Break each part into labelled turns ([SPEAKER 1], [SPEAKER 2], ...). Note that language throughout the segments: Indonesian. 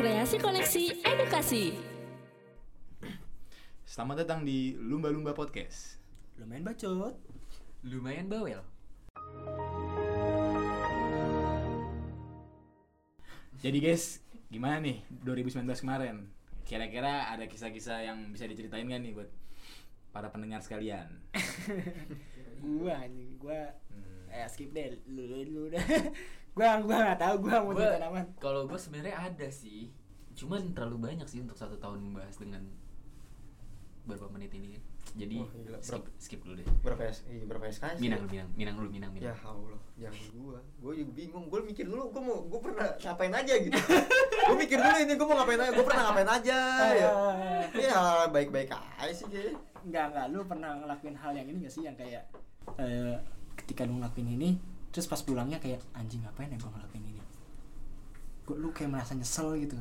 [SPEAKER 1] Kreasi Koneksi Edukasi.
[SPEAKER 2] Selamat datang di Lumba-Lumba Podcast.
[SPEAKER 3] Lumayan bacot.
[SPEAKER 4] Lumayan bawel.
[SPEAKER 2] Jadi guys, gimana nih 2019 kemarin? Kira-kira ada kisah-kisah yang bisa diceritain kan nih buat para pendengar sekalian?
[SPEAKER 3] Gua anjing, gua eh skip deh lu lu dulu dah. gua gua enggak tahu gua mau
[SPEAKER 4] Gua-
[SPEAKER 3] cerita apa.
[SPEAKER 4] Kalau gue sebenarnya ada sih, cuman terlalu banyak sih untuk satu tahun bahas dengan berapa menit ini. Jadi
[SPEAKER 5] Wah, gila.
[SPEAKER 4] skip
[SPEAKER 5] Berapa-
[SPEAKER 4] skip dulu deh.
[SPEAKER 5] berapa S iya, berapa SKS
[SPEAKER 4] Minang minang minang dulu minang minang.
[SPEAKER 5] ya Allah jangan gua gua juga bingung gua mikir dulu gua mau gua pernah ngapain aja gitu gua mikir dulu ini gua mau ngapain aja gua pernah ngapain aja ya ya baik-baik aja sih kayaknya
[SPEAKER 3] Enggak enggak Eh, lu pernah ngelakuin hal yang ini enggak sih yang kayak eh ketika lu ngelakuin ini terus pas pulangnya kayak anjing ngapain ya gua ngelakuin ini. Gua lu kayak merasa nyesel gitu.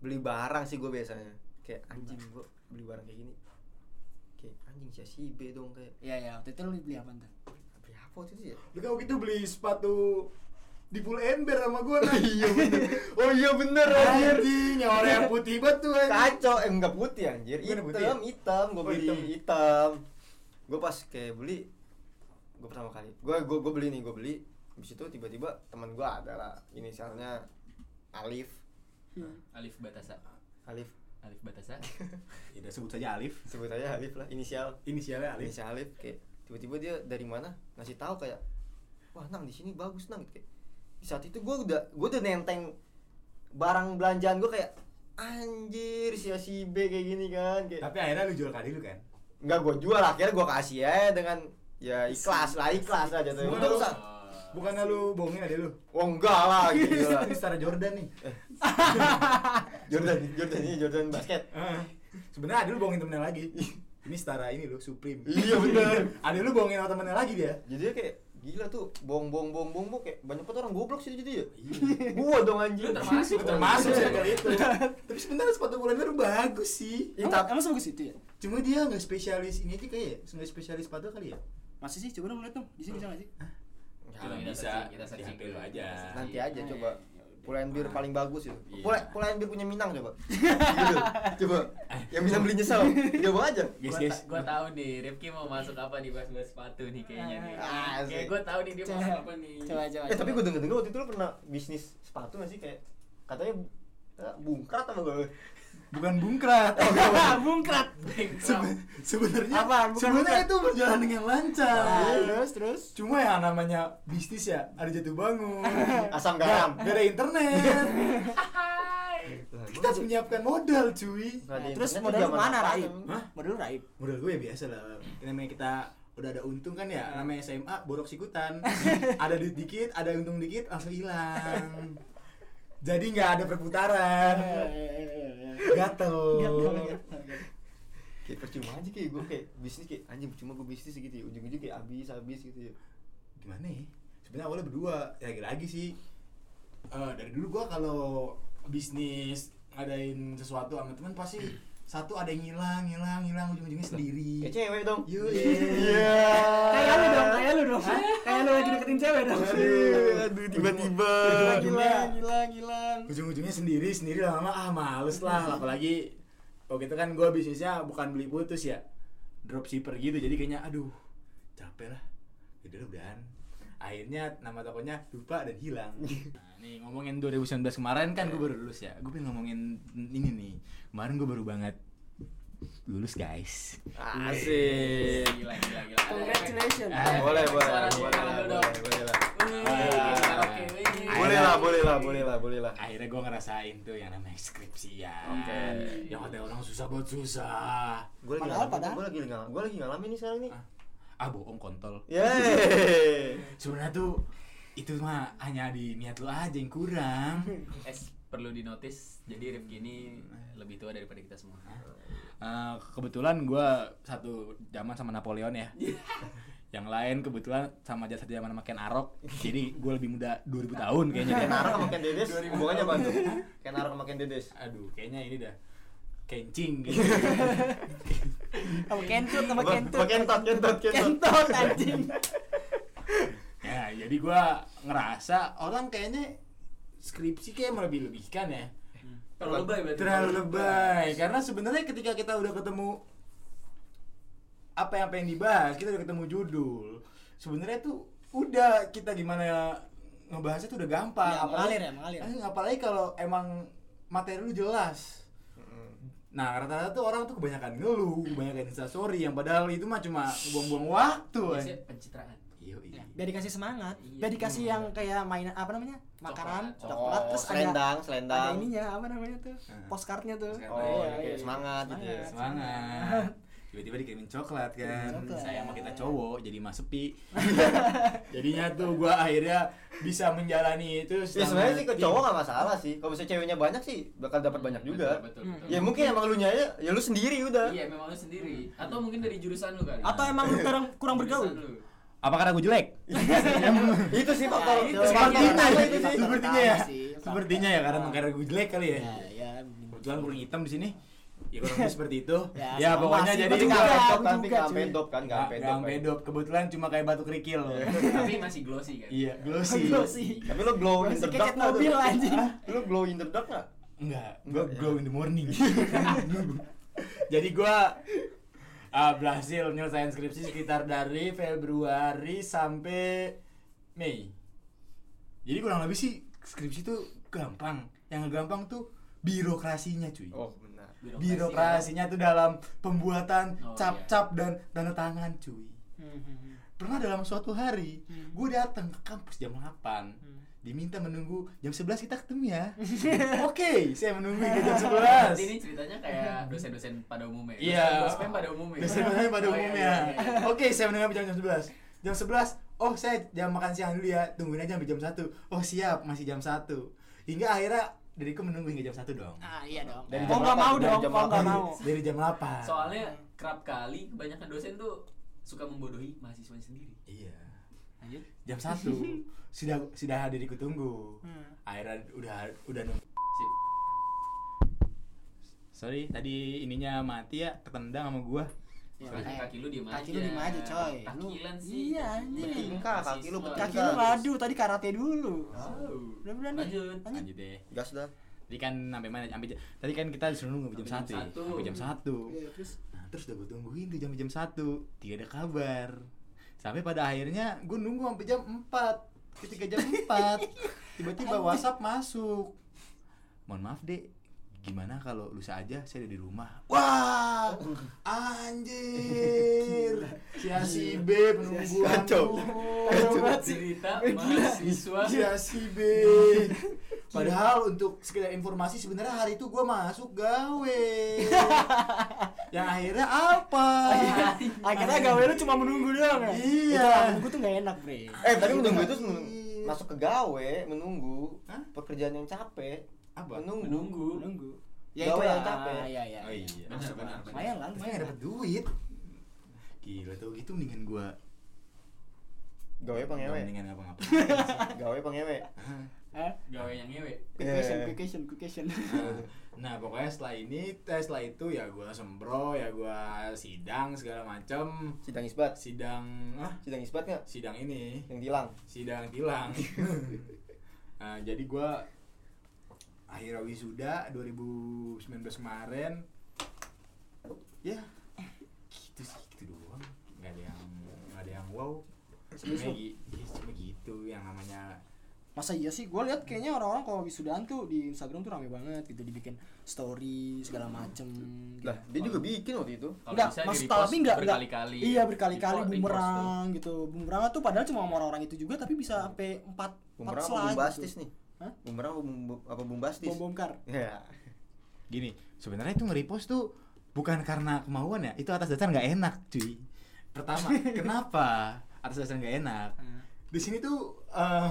[SPEAKER 5] beli barang sih gua biasanya kayak anjing gua beli barang kayak gini kayak anjing sia si B dong kayak
[SPEAKER 3] Iya ya, waktu itu lu beli apa tuh?
[SPEAKER 5] beli apa waktu itu sih ya
[SPEAKER 2] Lu kau gitu beli sepatu di full ember sama gua nah. iya
[SPEAKER 5] oh iya bener anjir
[SPEAKER 2] Anjing, yang warna yang putih banget tuh anjing.
[SPEAKER 5] kacau eh enggak putih anjir
[SPEAKER 2] Bukan
[SPEAKER 5] hitam
[SPEAKER 2] putih ya?
[SPEAKER 5] hitam gue
[SPEAKER 2] Oh,
[SPEAKER 5] beli
[SPEAKER 2] hitam.
[SPEAKER 5] hitam, gue pas kayak beli gue pertama kali gue gue gue beli nih gue beli habis itu tiba-tiba teman gue ada lah inisialnya Alif
[SPEAKER 4] Alif Batasa.
[SPEAKER 5] Alif
[SPEAKER 4] Alif Batasa.
[SPEAKER 2] Ya udah sebut saja Alif.
[SPEAKER 5] sebut aja Alif lah inisial
[SPEAKER 2] Inisialnya Alif.
[SPEAKER 5] inisial Alif kayak tiba-tiba dia dari mana ngasih tahu kayak wah nang di sini bagus nang kayak di saat itu gue udah gue udah nenteng barang belanjaan gue kayak anjir si si B kayak gini kan kayak
[SPEAKER 2] Tapi akhirnya lu jual kali lu kan?
[SPEAKER 5] nggak gue jual akhirnya gue kasih ya dengan ya ikhlas lah ikhlas aja tuh
[SPEAKER 2] Bukan
[SPEAKER 5] nggak
[SPEAKER 2] lu,
[SPEAKER 5] usah
[SPEAKER 2] bukannya lu bohongin adek lu?
[SPEAKER 5] oh enggak lah gitu lah
[SPEAKER 2] Ini Star Jordan nih.
[SPEAKER 5] Jordan Jordan ini Jordan basket
[SPEAKER 2] Ah. Sebenarnya ada lu bohongin temennya lagi. Ini setara ini lu Supreme.
[SPEAKER 5] Iya, bener.
[SPEAKER 2] Ada lu bohongin sama temennya lagi dia.
[SPEAKER 5] jadi dia kayak gila tuh bohong bohong bohong bohong bohong, kayak banyak banget orang goblok sih jadi ya gua dong
[SPEAKER 4] Iya.
[SPEAKER 5] anjing
[SPEAKER 4] Lu termasuk.
[SPEAKER 2] Termasuk circle itu. Tapi sebenarnya sepatu bola baru bagus sih.
[SPEAKER 5] Ya,
[SPEAKER 3] Emang,
[SPEAKER 5] tapi-
[SPEAKER 4] kan-
[SPEAKER 3] emang sebagus itu ya?
[SPEAKER 2] Cuma dia nggak spesialis ini aja kayak ya? nggak spesialis sepatu kali ya.
[SPEAKER 3] Masih sih coba dong lihat dong. Di sini bisa enggak sih?
[SPEAKER 5] Ya,
[SPEAKER 4] Kita
[SPEAKER 2] bisa.
[SPEAKER 4] searching,
[SPEAKER 2] Di
[SPEAKER 4] searching
[SPEAKER 2] HP lu
[SPEAKER 4] dulu.
[SPEAKER 2] aja.
[SPEAKER 4] Kita searching.
[SPEAKER 5] nanti aja
[SPEAKER 4] iya,
[SPEAKER 5] coba Pulen bir paling bagus itu.
[SPEAKER 2] Iya.
[SPEAKER 5] Pulen, Pulen bir punya Minang coba. Gitu. Coba.
[SPEAKER 4] Eh.
[SPEAKER 5] Yang bisa beli nyesel. Coba aja.
[SPEAKER 2] Guys
[SPEAKER 4] Gua
[SPEAKER 2] guys.
[SPEAKER 4] ta- gua tahu nih Rifki mau masuk apa nih bahas bahas sepatu nih kayaknya nih.
[SPEAKER 5] Ah,
[SPEAKER 4] Kayak
[SPEAKER 5] asik.
[SPEAKER 4] gue tahu nih dia mau masuk apa nih.
[SPEAKER 3] Coba coba.
[SPEAKER 5] Eh tapi
[SPEAKER 3] coba.
[SPEAKER 5] gue denger denger waktu itu lu pernah bisnis sepatu gak sih kayak katanya eh, bungkrat apa gue?
[SPEAKER 2] Bukan bungkrat.
[SPEAKER 3] bungkrat.
[SPEAKER 2] Oh, Sebe- sebenarnya
[SPEAKER 3] Apaan? Bukan
[SPEAKER 2] sebenarnya
[SPEAKER 3] bungkrat.
[SPEAKER 2] itu berjalan dengan lancar.
[SPEAKER 5] Nah,
[SPEAKER 3] Nah, Terus terus.
[SPEAKER 2] Cuma ya namanya bisnis ya ada jatuh bangun.
[SPEAKER 5] Asam garam.
[SPEAKER 2] Gak ada internet. Kita harus menyiapkan modal cuy.
[SPEAKER 5] Nggak ada
[SPEAKER 3] Terus
[SPEAKER 5] internet,
[SPEAKER 3] modal lu
[SPEAKER 5] Nah, zaman
[SPEAKER 3] mana,
[SPEAKER 5] apaan
[SPEAKER 3] Raib?
[SPEAKER 5] emang?
[SPEAKER 2] Hah?
[SPEAKER 3] Modal lu Raib.
[SPEAKER 2] modal gue ya biasa lah namanya kita udah ada untung kan ya namanya SMA borok sikutan ada duit dikit ada untung dikit langsung hilang jadi nggak ada perputaran gatel
[SPEAKER 3] Iya,
[SPEAKER 5] Kayak percuma aja kayak gue kayak bisnis kayak anjing percuma gue bisnis gitu ya ujung-ujung kayak habis habis gitu ya.
[SPEAKER 2] gimana ya sebenarnya awalnya berdua lagi-lagi sih Eh, dari dulu gue kalau bisnis ngadain sesuatu sama teman pasti satu ada yang hilang hilang hilang ujung-ujungnya sendiri
[SPEAKER 5] Kayak cewek dong.
[SPEAKER 2] Yoi.
[SPEAKER 5] Iya.
[SPEAKER 3] Kayak lu dong, kayak lu dong. Kayak lu lagi deketin cewek dong.
[SPEAKER 5] Aduh, aduh tiba-tiba.
[SPEAKER 2] Gila.
[SPEAKER 3] hilang, hilang.
[SPEAKER 2] ujung-ujungnya sendiri sendiri lama-lama ah males lah apalagi waktu itu kan gue bisnisnya bukan beli putus ya dropshipper gitu jadi kayaknya aduh capek lah udah udahan akhirnya nama tokonya lupa dan hilang nah, nih ngomongin 2019 kemarin kan gue baru lulus ya gue pengen ngomongin ini nih kemarin gue baru banget lulus guys
[SPEAKER 5] Asik.
[SPEAKER 4] Eh, Gila gila gila.
[SPEAKER 3] Congratulations.
[SPEAKER 2] Eh,
[SPEAKER 5] Boleh, boleh,
[SPEAKER 4] Suara suara
[SPEAKER 5] boleh, boleh,
[SPEAKER 4] lu
[SPEAKER 5] boleh,
[SPEAKER 4] dong.
[SPEAKER 5] boleh lah.
[SPEAKER 4] Wih, oke, wih.
[SPEAKER 5] Boleh lah, boleh lah, boleh lah, boleh lah.
[SPEAKER 2] akhirnya gue ngerasain tuh yang namanya skripsian
[SPEAKER 5] Oke.
[SPEAKER 2] yang ada orang susah buat susah
[SPEAKER 5] Gue lagi
[SPEAKER 3] Padahal,
[SPEAKER 5] ngalamin,
[SPEAKER 3] padahal.
[SPEAKER 5] gue lagi ngalamin, gue lagi ngalamin nih sekarang nih.
[SPEAKER 2] ah bohong kontol
[SPEAKER 5] Yeay.
[SPEAKER 2] sebenarnya tuh itu mah hanya di niat lu aja yang kurang
[SPEAKER 4] Es Eh, perlu dinotis. Jadi Rifki ini lebih tua daripada kita semua.
[SPEAKER 2] Eh, kebetulan gua satu zaman sama Napoleon ya yang lain kebetulan sama jasa zaman sama Ken Arok jadi gua lebih muda 2000 tahun kayaknya Ken
[SPEAKER 5] Kenaro
[SPEAKER 2] Arok
[SPEAKER 5] sama Ken Dedes, hubungannya apa tuh? Kenaro sama Ken Dedes.
[SPEAKER 2] aduh kayaknya ini dah kencing gitu.
[SPEAKER 3] Sama kentut, sama
[SPEAKER 5] Sama-
[SPEAKER 3] kentut.
[SPEAKER 5] sama kentot, kentot, kentot.
[SPEAKER 3] Kentot, anjing.
[SPEAKER 2] ya jadi gua ngerasa orang kayaknya skripsi kayak melebih-lebihkan ya
[SPEAKER 6] Terlalu lebay berarti.
[SPEAKER 2] terlalu lebay karena sebenarnya ketika kita udah ketemu apa yang pengen dibahas kita udah ketemu judul sebenarnya tuh udah kita gimana ya ngebahasnya tuh udah gampang
[SPEAKER 3] Ya, mengalir ya, mengalir.
[SPEAKER 2] Eh, apalagi kalau emang materi lu jelas nah rata-rata tuh orang tuh kebanyakan ngeluh kebanyakan instastory yang padahal itu mah cuma buang-buang waktu eh.
[SPEAKER 4] Biasanya pencitraan
[SPEAKER 2] iya
[SPEAKER 3] Ya, biar dikasih semangat,
[SPEAKER 4] Iya.
[SPEAKER 3] biar dikasih yang kayak mainan apa namanya? Makanan,
[SPEAKER 4] Coklat,
[SPEAKER 3] coklat,
[SPEAKER 5] coklat,
[SPEAKER 3] terus
[SPEAKER 5] Oh, selendang,
[SPEAKER 3] ada
[SPEAKER 5] selendang.
[SPEAKER 3] ada ininya apa namanya tuh?
[SPEAKER 2] Heeh.
[SPEAKER 3] Postcardnya tuh.
[SPEAKER 2] Postcard.
[SPEAKER 5] Oh,
[SPEAKER 2] Iya,
[SPEAKER 5] kayak semangat gitu ya.
[SPEAKER 2] semangat tiba-tiba dikirimin coklat kan
[SPEAKER 3] Coklat.
[SPEAKER 2] saya sama kita cowok jadi mas sepi jadinya tuh gua akhirnya bisa menjalani itu
[SPEAKER 5] Ya sebenarnya
[SPEAKER 2] Iya.
[SPEAKER 5] sih ke cowok gak masalah sih. Kalau misalnya ceweknya banyak sih bakal dapat banyak juga.
[SPEAKER 6] Betul, betul, betul.
[SPEAKER 5] Ya mungkin emang lu nyanya ya lu sendiri udah.
[SPEAKER 6] Hmm. Iya, memang lu sendiri. Atau mungkin dari jurusan lu kali.
[SPEAKER 3] Atau emang lu kurang kurang bergaul?
[SPEAKER 6] Jurusan lu.
[SPEAKER 2] apa karena gue jelek
[SPEAKER 5] itu sih faktor.
[SPEAKER 6] itu
[SPEAKER 5] faktor
[SPEAKER 6] sepertinya.
[SPEAKER 5] utama itu
[SPEAKER 3] Itu
[SPEAKER 5] sih.
[SPEAKER 2] sepertinya ya
[SPEAKER 3] sih, faktor.
[SPEAKER 2] sepertinya ya karena karena gue jelek kali ya
[SPEAKER 5] Iya,
[SPEAKER 3] Ya, ya.
[SPEAKER 2] kebetulan kurang hitam di sini ya kurang lebih seperti itu
[SPEAKER 3] Ya,
[SPEAKER 2] ya
[SPEAKER 3] sama
[SPEAKER 2] pokoknya
[SPEAKER 3] sih,
[SPEAKER 2] jadi
[SPEAKER 5] Tapi
[SPEAKER 3] Itu
[SPEAKER 5] nggak
[SPEAKER 3] juga,
[SPEAKER 5] pedop
[SPEAKER 3] itu
[SPEAKER 5] kan, tapi
[SPEAKER 3] juga,
[SPEAKER 5] nggak
[SPEAKER 3] cuy.
[SPEAKER 5] pedop kan, nggak
[SPEAKER 2] nggak
[SPEAKER 5] pedop.
[SPEAKER 2] nggak bedop kebetulan cuma kayak batu kerikil
[SPEAKER 6] Tapi masih glossy kan.
[SPEAKER 2] iya glossy
[SPEAKER 3] Glossy.
[SPEAKER 5] Tapi lu glow in the
[SPEAKER 3] Masih
[SPEAKER 5] dark
[SPEAKER 3] keket
[SPEAKER 5] nggak tuh?
[SPEAKER 3] mobil anjing.
[SPEAKER 5] Lu glow in the dark nggak?
[SPEAKER 2] Enggak, gua
[SPEAKER 5] Enggak, ya.
[SPEAKER 2] glow in the morning. Jadi gua ah, berhasil nyelesain skripsi sekitar dari Februari sampai Mei. Jadi kurang lebih sih skripsi tuh gampang. Yang nggak gampang tuh birokrasinya cuy.
[SPEAKER 5] Oh benar.
[SPEAKER 2] birokrasinya tuh dalam pembuatan
[SPEAKER 6] ya. Oh,
[SPEAKER 2] cap-cap dan tanda tangan cuy. Pernah dalam suatu hari
[SPEAKER 6] Hmm.
[SPEAKER 2] gue datang ke kampus jam 8 Diminta menunggu jam 11 kita ketemu ya Oke, saya menunggu hingga jam
[SPEAKER 6] Berarti ini
[SPEAKER 2] 11
[SPEAKER 6] ceritanya kayak dosen-dosen pada umumnya.
[SPEAKER 2] Iya.
[SPEAKER 6] Dosen pada umumnya.
[SPEAKER 2] Dosen-dosen pada
[SPEAKER 6] Oh, iya,
[SPEAKER 2] umumnya
[SPEAKER 6] iya, iya.
[SPEAKER 2] Oke, saya menunggu sampai jam, jam 11 Jam 11, oh saya jam makan siang dulu ya Tungguin aja sampai jam 1 Oh siap, masih jam 1 Hingga akhirnya diriku menunggu hingga jam 1 dong
[SPEAKER 3] Ah, iya dong. Kok
[SPEAKER 5] Dari jam
[SPEAKER 3] nggak
[SPEAKER 5] berapa?
[SPEAKER 3] mau
[SPEAKER 5] Dari
[SPEAKER 3] dong?
[SPEAKER 5] jam
[SPEAKER 3] Kok nggak
[SPEAKER 5] berapa?
[SPEAKER 3] mau?
[SPEAKER 2] Dari jam 8
[SPEAKER 6] iya. Soalnya kerap kali kebanyakan dosen tuh suka membodohi mahasiswa sendiri.
[SPEAKER 2] Iya
[SPEAKER 6] Lanjut.
[SPEAKER 2] Jam 1 Sudah sudah diriku tunggu
[SPEAKER 6] Hmm.
[SPEAKER 3] Hmm.
[SPEAKER 2] Akhirnya udah udah nunggu
[SPEAKER 6] Sip.
[SPEAKER 2] Sorry, tadi ininya mati ya, ketendang sama gua.
[SPEAKER 3] Ya,
[SPEAKER 6] Kaki,
[SPEAKER 3] eh,
[SPEAKER 6] kaki lu diem aja.
[SPEAKER 3] kaki lu diem aja, coy. Lu-
[SPEAKER 6] Takilan sih.
[SPEAKER 3] iya, anjing.
[SPEAKER 5] Bertingkah, kaki lu bertingkah.
[SPEAKER 3] Kaki lu ngadu tadi karate dulu.
[SPEAKER 6] Wow.
[SPEAKER 3] Udah-udah nih.
[SPEAKER 6] Lanjut.
[SPEAKER 2] Lanjut deh.
[SPEAKER 5] Gas dah.
[SPEAKER 2] Tadi kan sampai mana? Sampai jam- tadi kan kita disuruh nunggu jam satu.
[SPEAKER 6] Sampai jam
[SPEAKER 2] ya?
[SPEAKER 6] satu.
[SPEAKER 2] Sampai jam satu.
[SPEAKER 3] Iya, terus
[SPEAKER 2] Nah, terus udah gue tungguin tuh jam jam satu, tidak ada kabar. Sampai pada akhirnya gue nunggu sampai jam 4 Ketika jam 4 tiba-tiba WhatsApp masuk. Mohon maaf dek, gimana kalau lusa aja saya ada di rumah. Wah, anjir, si A, si B penungguan tuh.
[SPEAKER 5] Kacau.
[SPEAKER 6] Cerita mahasiswa.
[SPEAKER 2] Iya sih B. Padahal untuk sekedar informasi sebenarnya hari itu gua masuk gawe. Yang akhirnya apa?
[SPEAKER 3] akhirnya gawe lu cuma menunggu doang ya?
[SPEAKER 2] Iya.
[SPEAKER 3] Itu menunggu tuh nggak enak, Bre.
[SPEAKER 5] Eh tapi menunggu itu
[SPEAKER 2] Iya.
[SPEAKER 5] masuk ke gawe, menunggu
[SPEAKER 2] Hah?
[SPEAKER 5] pekerjaan yang capek.
[SPEAKER 2] Apa?
[SPEAKER 5] Menunggu.
[SPEAKER 6] Menunggu.
[SPEAKER 3] Menunggu.
[SPEAKER 5] Gawe
[SPEAKER 3] itulah.
[SPEAKER 5] yang capek.
[SPEAKER 3] Iya, iya.
[SPEAKER 2] Oh
[SPEAKER 3] iya.
[SPEAKER 2] iya.
[SPEAKER 6] ya. Benar, benar, benar.
[SPEAKER 3] Lumayan lah,
[SPEAKER 2] Tapi
[SPEAKER 3] lumayan
[SPEAKER 2] nggak
[SPEAKER 3] lah.
[SPEAKER 2] dapet duit. Gila tau gitu mendingan gua
[SPEAKER 5] Gawe pengewe.
[SPEAKER 2] Mendingan ngapa-ngapa.
[SPEAKER 5] Gawe pengewe.
[SPEAKER 3] Eh,
[SPEAKER 6] Gawe yang ngewe.
[SPEAKER 3] quick question, quick question, quick question.
[SPEAKER 2] Nah, nah pokoknya setelah ini eh, setelah itu ya gua sembro ya gua sidang segala macem
[SPEAKER 5] Sidang isbat.
[SPEAKER 2] sidang ah
[SPEAKER 5] Sidang isbat nggak?
[SPEAKER 2] sidang ini
[SPEAKER 5] Yang tilang.
[SPEAKER 2] sidang tilang nah, jadi gua akhirnya wisuda 2019 kemarin ya gitu sih gitu doang nggak ada yang nggak ada yang wow cuma gi- ya, cuma gitu yang namanya
[SPEAKER 3] Masa iya sih? Gue lihat kayaknya orang-orang kalau wisudaan tuh di Instagram tuh rame banget gitu dibikin story segala macem. gitu.
[SPEAKER 5] Lah, dia juga bikin waktu itu.
[SPEAKER 6] Kalau
[SPEAKER 3] Enggak,
[SPEAKER 6] bisa
[SPEAKER 3] maksud
[SPEAKER 6] di-repost
[SPEAKER 3] tapi enggak enggak-
[SPEAKER 6] berkali-kali. ya,
[SPEAKER 3] Iya, berkali-kali
[SPEAKER 6] Di-repost,
[SPEAKER 3] bumerang gitu. Bumerang tuh padahal cuma sama orang-orang itu juga tapi bisa sampai 4
[SPEAKER 5] Bumerang apa bombastis nih? Hah? Bumerang apa bum- apa bombastis?
[SPEAKER 3] Bom bom gitu. kar.
[SPEAKER 5] Ya.
[SPEAKER 2] gini sebenarnya itu nge-repost tuh bukan karena kemauan ya itu atas dasar nggak enak cuy pertama kenapa atas dasar nggak enak di sini tuh eh,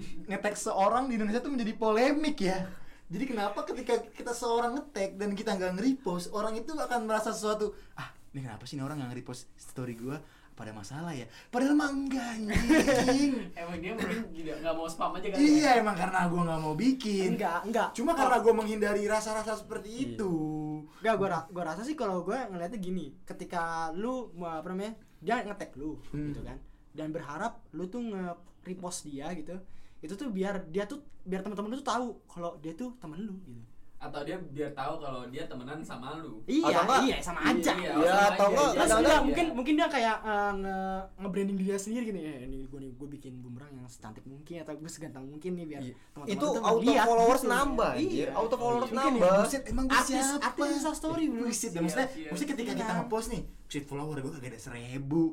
[SPEAKER 2] ngetek seorang di Indonesia tuh menjadi polemik ya jadi kenapa ketika kita seorang ngetek dan kita nggak nge-repost orang itu akan merasa sesuatu ah ini kenapa sih ini orang nggak nge-repost story gua pada masalah ya padahal mah enggak anjing
[SPEAKER 6] posting. Emang dia mungkin tidak nggak mau spam aja kan?
[SPEAKER 2] iya emang karena gua nggak mau
[SPEAKER 5] Iya.
[SPEAKER 2] bikin
[SPEAKER 3] Enggak, enggak.
[SPEAKER 2] cuma karena gua menghindari rasa-rasa seperti itu
[SPEAKER 3] Enggak, gue gua rasa sih kalau gue ngeliatnya gini, ketika lu mau apa namanya, dia ngetek lu
[SPEAKER 2] Hmm.
[SPEAKER 3] gitu kan, dan berharap lu tuh nge repost dia gitu, itu tuh biar dia tuh biar teman-teman lu tuh tahu kalau dia tuh temen lu gitu
[SPEAKER 6] atau dia biar tahu kalau dia temenan sama lu
[SPEAKER 3] iya
[SPEAKER 5] enggak-
[SPEAKER 3] iya sama aja
[SPEAKER 6] Iya, sama aja.
[SPEAKER 5] Ya, atau enggak,
[SPEAKER 6] Jelas
[SPEAKER 3] Terus
[SPEAKER 5] kadang-kadang-
[SPEAKER 3] enggak,
[SPEAKER 6] iya.
[SPEAKER 3] mungkin mungkin dia kayak eh, nge, nge-branding diri dia sendiri gini ya ini gue nih gue bikin bumerang yang secantik mungkin atau gue segantang mungkin nih biar
[SPEAKER 5] Iya.
[SPEAKER 3] teman-teman
[SPEAKER 5] itu
[SPEAKER 3] tuh
[SPEAKER 5] auto
[SPEAKER 3] ngeliat
[SPEAKER 5] followers
[SPEAKER 3] gitu.
[SPEAKER 5] nambah
[SPEAKER 3] iya
[SPEAKER 5] anjir. auto followers
[SPEAKER 2] Mungkin
[SPEAKER 5] nambah
[SPEAKER 2] ya, buset emang gue
[SPEAKER 3] Artis-
[SPEAKER 2] siapa
[SPEAKER 3] artis Insta story, bro.
[SPEAKER 2] buset dan maksudnya
[SPEAKER 6] Iya, iya.
[SPEAKER 2] maksudnya ketika
[SPEAKER 3] Iya.
[SPEAKER 2] kita ngepost nih buset follower gue kagak ada seribu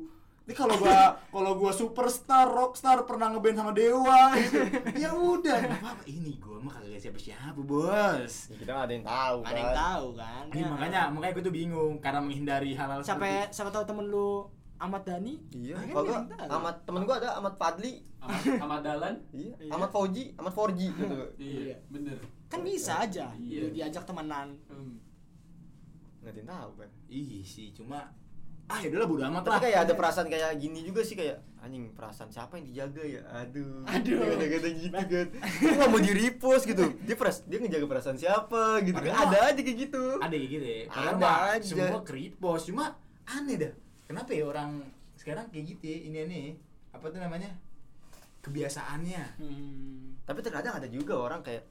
[SPEAKER 2] ini kalau gua kalau gua superstar rockstar pernah ngeband sama dewa gitu. ya udah apa apa ini gua mah kagak siapa siapa bos
[SPEAKER 5] Ya, kita nggak ada yang tahu
[SPEAKER 3] Nggak ada yang tahu kan
[SPEAKER 2] ini
[SPEAKER 3] Ya.
[SPEAKER 2] Iya, makanya makanya gue tuh bingung karena menghindari hal-hal seperti
[SPEAKER 3] siapa siapa tahu temen lu Ahmad Dhani
[SPEAKER 5] iya
[SPEAKER 3] Kan
[SPEAKER 5] kalau
[SPEAKER 3] nggak
[SPEAKER 5] gua
[SPEAKER 3] ada yang tahu.
[SPEAKER 5] amat temen gua ada amat Fadli
[SPEAKER 6] Ahmad Ahmad Dahlan
[SPEAKER 5] iya
[SPEAKER 3] Iya.
[SPEAKER 5] amat Fauji amat Forji gitu
[SPEAKER 6] iya
[SPEAKER 3] Iya.
[SPEAKER 6] bener
[SPEAKER 3] kan bisa aja lu
[SPEAKER 6] Iya.
[SPEAKER 3] diajak temenan
[SPEAKER 6] Hmm.
[SPEAKER 5] nggak ada yang tahu kan
[SPEAKER 2] ih sih cuma ah ya udahlah bodo amat
[SPEAKER 5] tapi
[SPEAKER 2] lah
[SPEAKER 5] kayak ada perasaan kayak gini juga sih kayak anjing perasaan siapa yang dijaga ya aduh
[SPEAKER 3] Aduh. Nah.
[SPEAKER 5] kata gitu kan Gua nggak mau di repost gitu dia peras dia ngejaga perasaan siapa gitu kan
[SPEAKER 2] Padahal-
[SPEAKER 5] ada aja kayak gitu
[SPEAKER 2] ada kayak gitu ya padahal
[SPEAKER 5] Ada
[SPEAKER 2] mah
[SPEAKER 5] aja.
[SPEAKER 2] semua keripos cuma aneh dah kenapa ya orang sekarang kayak gitu ya ini aneh ya. apa tuh namanya kebiasaannya
[SPEAKER 3] hmm.
[SPEAKER 5] tapi terkadang ada juga orang kayak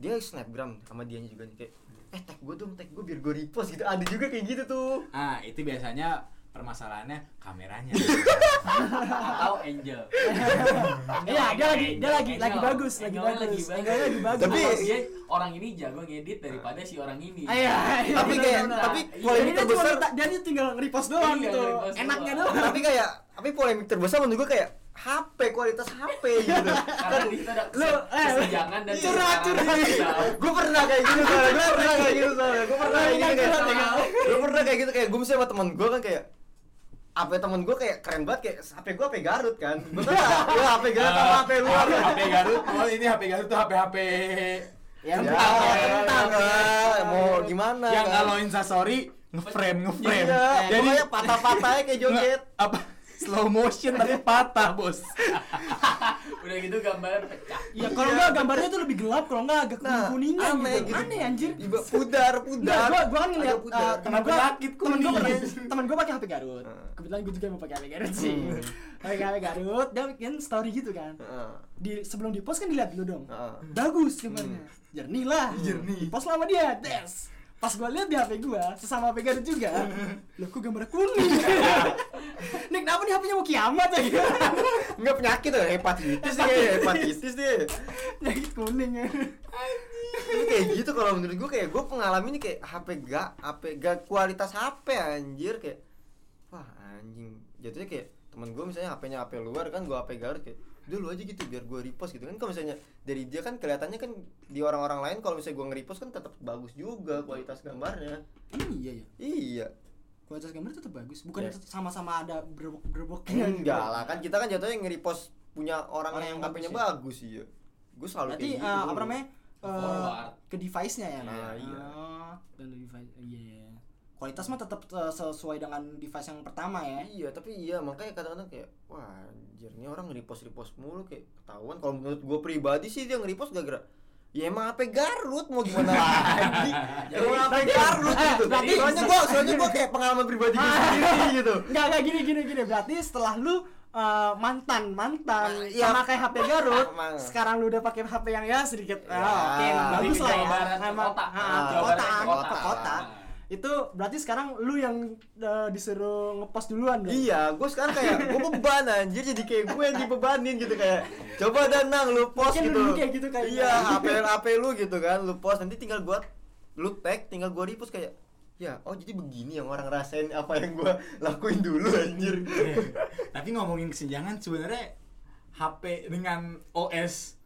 [SPEAKER 5] dia snapgram sama dianya juga nih kayak eh tag gue dong tag gue biar gue repost gitu ada juga kayak gitu tuh
[SPEAKER 2] ah itu biasanya permasalahannya kameranya
[SPEAKER 6] atau Angel
[SPEAKER 3] Iya, dia lagi dia lagi
[SPEAKER 6] Angel.
[SPEAKER 3] lagi bagus, lagi
[SPEAKER 6] Angelnya
[SPEAKER 3] bagus.
[SPEAKER 6] lagi
[SPEAKER 3] Angelnya lagi bagus.
[SPEAKER 5] Tapi-
[SPEAKER 6] Kalau dia orang ini jago ngedit daripada si orang ini
[SPEAKER 3] Iya, iya,
[SPEAKER 5] Tapi
[SPEAKER 3] iya,
[SPEAKER 5] kayak-
[SPEAKER 3] benar.
[SPEAKER 5] tapi
[SPEAKER 3] Iya,
[SPEAKER 5] polemik
[SPEAKER 3] jadi dia cuma
[SPEAKER 5] terbesar-
[SPEAKER 3] minta- dia tuh tinggal nge-repost doang
[SPEAKER 6] Iya,
[SPEAKER 3] gitu.
[SPEAKER 6] nge-repost
[SPEAKER 3] Enaknya
[SPEAKER 6] doang.
[SPEAKER 3] doang.
[SPEAKER 5] tapi kayak tapi polemik terbesar menurut gue kayak HP kualitas HP gitu
[SPEAKER 6] karena di kita ada
[SPEAKER 3] Lu,
[SPEAKER 6] kes-
[SPEAKER 3] eh,
[SPEAKER 6] kesenjangan dan
[SPEAKER 3] curhat, curhat.
[SPEAKER 6] curhat
[SPEAKER 5] gue pernah kayak gitu soalnya gue pernah kayak gitu soalnya gue pernah kayak gitu kayak gue pernah kayak gitu kayak gue misalnya sama temen gue kan kayak apa temen gue kayak keren banget kayak HP gue HP Garut kan gue tuh ya HP Garut sama HP luar
[SPEAKER 2] Ah, HP Garut oh ini HP Garut tuh HP HP
[SPEAKER 3] Ya,
[SPEAKER 5] ya
[SPEAKER 3] kentang, ya,
[SPEAKER 5] kentang lah mau gimana
[SPEAKER 2] yang
[SPEAKER 5] kan?
[SPEAKER 2] kalau instastory ngeframe ngeframe
[SPEAKER 5] iya
[SPEAKER 2] jadi
[SPEAKER 5] pokoknya patah-patahnya kayak joget
[SPEAKER 2] nge- apa slow motion tapi patah bos
[SPEAKER 6] udah gitu gambarnya pecah
[SPEAKER 3] Iya, kalau enggak gambarnya tuh lebih gelap, kalau enggak agak
[SPEAKER 5] Nah,
[SPEAKER 3] kuning-kuningan
[SPEAKER 5] aneh
[SPEAKER 3] gitu.
[SPEAKER 5] gitu.
[SPEAKER 3] Aneh anjir.
[SPEAKER 5] Tiba pudar
[SPEAKER 3] Enggak,
[SPEAKER 5] pudar
[SPEAKER 3] gua gua kan
[SPEAKER 5] Ada
[SPEAKER 3] ngeliat
[SPEAKER 5] pudar.
[SPEAKER 3] eh, teman gua
[SPEAKER 2] Kenapa sakit
[SPEAKER 3] teman gua
[SPEAKER 2] kuningnya?
[SPEAKER 3] pernah- teman gua pakai HP Garut.
[SPEAKER 5] Heeh.
[SPEAKER 3] Kebetulan gua juga mau pakai HP Garut sih.
[SPEAKER 5] Hmm.
[SPEAKER 3] Pakai HP Garut, dia bikin story gitu kan.
[SPEAKER 5] Heeh,
[SPEAKER 3] Di sebelum di post kan dilihat dulu dong.
[SPEAKER 5] heeh.
[SPEAKER 3] bagus gambarnya
[SPEAKER 5] Hmm.
[SPEAKER 3] jernih lah
[SPEAKER 2] Jernih.
[SPEAKER 3] pas lama dia des pas gue lihat di HP gue sesama HP Garut juga loh kok gambar kuning Nih kenapa nih HP-nya mau kiamat ya gitu
[SPEAKER 5] Enggak penyakit ya hepatitis dia hepatitis dia
[SPEAKER 3] nyakit kuning ya
[SPEAKER 5] Ini kayak gitu kalau menurut gue kayak gue pengalaman ini kayak HP gak HP gak kualitas HP anjir kayak wah anjing jatuhnya kayak temen gue misalnya HP-nya HP luar kan gue HP Garut kayak udah lu aja gitu biar gue repost gitu kan kalau misalnya dari dia kan kelihatannya kan di orang-orang lain kalau misalnya gue nge-repost kan tetap bagus juga kualitas gambarnya
[SPEAKER 3] iya ya
[SPEAKER 5] iya
[SPEAKER 3] kualitas gambar tetap bagus bukan
[SPEAKER 5] Ya.
[SPEAKER 3] sama-sama ada berbok berboknya
[SPEAKER 5] enggak lah kan kita kan jatuhnya nge-repost punya orang,
[SPEAKER 3] Iya, gitu. Orang
[SPEAKER 5] yang
[SPEAKER 3] yang
[SPEAKER 5] HP-nya
[SPEAKER 3] bagus ya?
[SPEAKER 5] bagus iya gue selalu
[SPEAKER 3] berarti
[SPEAKER 5] kayak gitu
[SPEAKER 3] eh, apa
[SPEAKER 5] dulu.
[SPEAKER 3] namanya Eh,
[SPEAKER 6] Forward.
[SPEAKER 3] ke device-nya ya
[SPEAKER 5] Iya,
[SPEAKER 3] Nah,
[SPEAKER 5] iya.
[SPEAKER 3] oh, dan device iya iya. kualitas mah tetap eh, sesuai dengan device yang pertama ya
[SPEAKER 5] Iya, tapi iya makanya kadang-kadang kayak wah anjir ini orang nge-repost repost mulu kayak ketahuan kalau menurut gue pribadi sih dia nge-repost gara-gara ya emang HP Garut mau gimana lagi emang HP Garut
[SPEAKER 3] eh,
[SPEAKER 5] gitu
[SPEAKER 3] berarti-
[SPEAKER 5] soalnya gue soalnya gue kayak pengalaman pribadi gue sendiri gitu
[SPEAKER 3] Enggak, enggak gini gini gini. Berarti setelah lu eh, mantan mantan
[SPEAKER 5] Nah, iya.
[SPEAKER 3] sama kayak HP Garut,
[SPEAKER 5] Emang.
[SPEAKER 3] sekarang lu udah pakai HP yang ya sedikit
[SPEAKER 5] Ya.
[SPEAKER 3] ah, oke nah,
[SPEAKER 5] Lebih
[SPEAKER 3] bagus
[SPEAKER 6] ke
[SPEAKER 3] lah
[SPEAKER 6] Jawa
[SPEAKER 3] ya.
[SPEAKER 6] Barat, ke
[SPEAKER 3] Emang
[SPEAKER 6] kota.
[SPEAKER 3] ah,
[SPEAKER 5] Ah,
[SPEAKER 3] ke
[SPEAKER 5] Jawa
[SPEAKER 3] kota,
[SPEAKER 5] Barat,
[SPEAKER 3] ke
[SPEAKER 5] ke
[SPEAKER 3] kota.
[SPEAKER 5] kota.
[SPEAKER 3] Itu berarti sekarang lu yang eh, disuruh ngepost duluan dong.
[SPEAKER 5] iya gue sekarang kayak gue beban anjir jadi kayak gue yang dibebanin gitu kayak coba danang lu post
[SPEAKER 3] Mungkin lu
[SPEAKER 5] gitu
[SPEAKER 3] dulu kayak gitu kali.
[SPEAKER 5] iya HP HP lu gitu kan lu post nanti tinggal gue lu tag tinggal gue repost kayak ya oh jadi begini yang orang rasain apa yang gue lakuin dulu anjir
[SPEAKER 2] tapi ngomongin kesenjangan sebenarnya HP dengan OS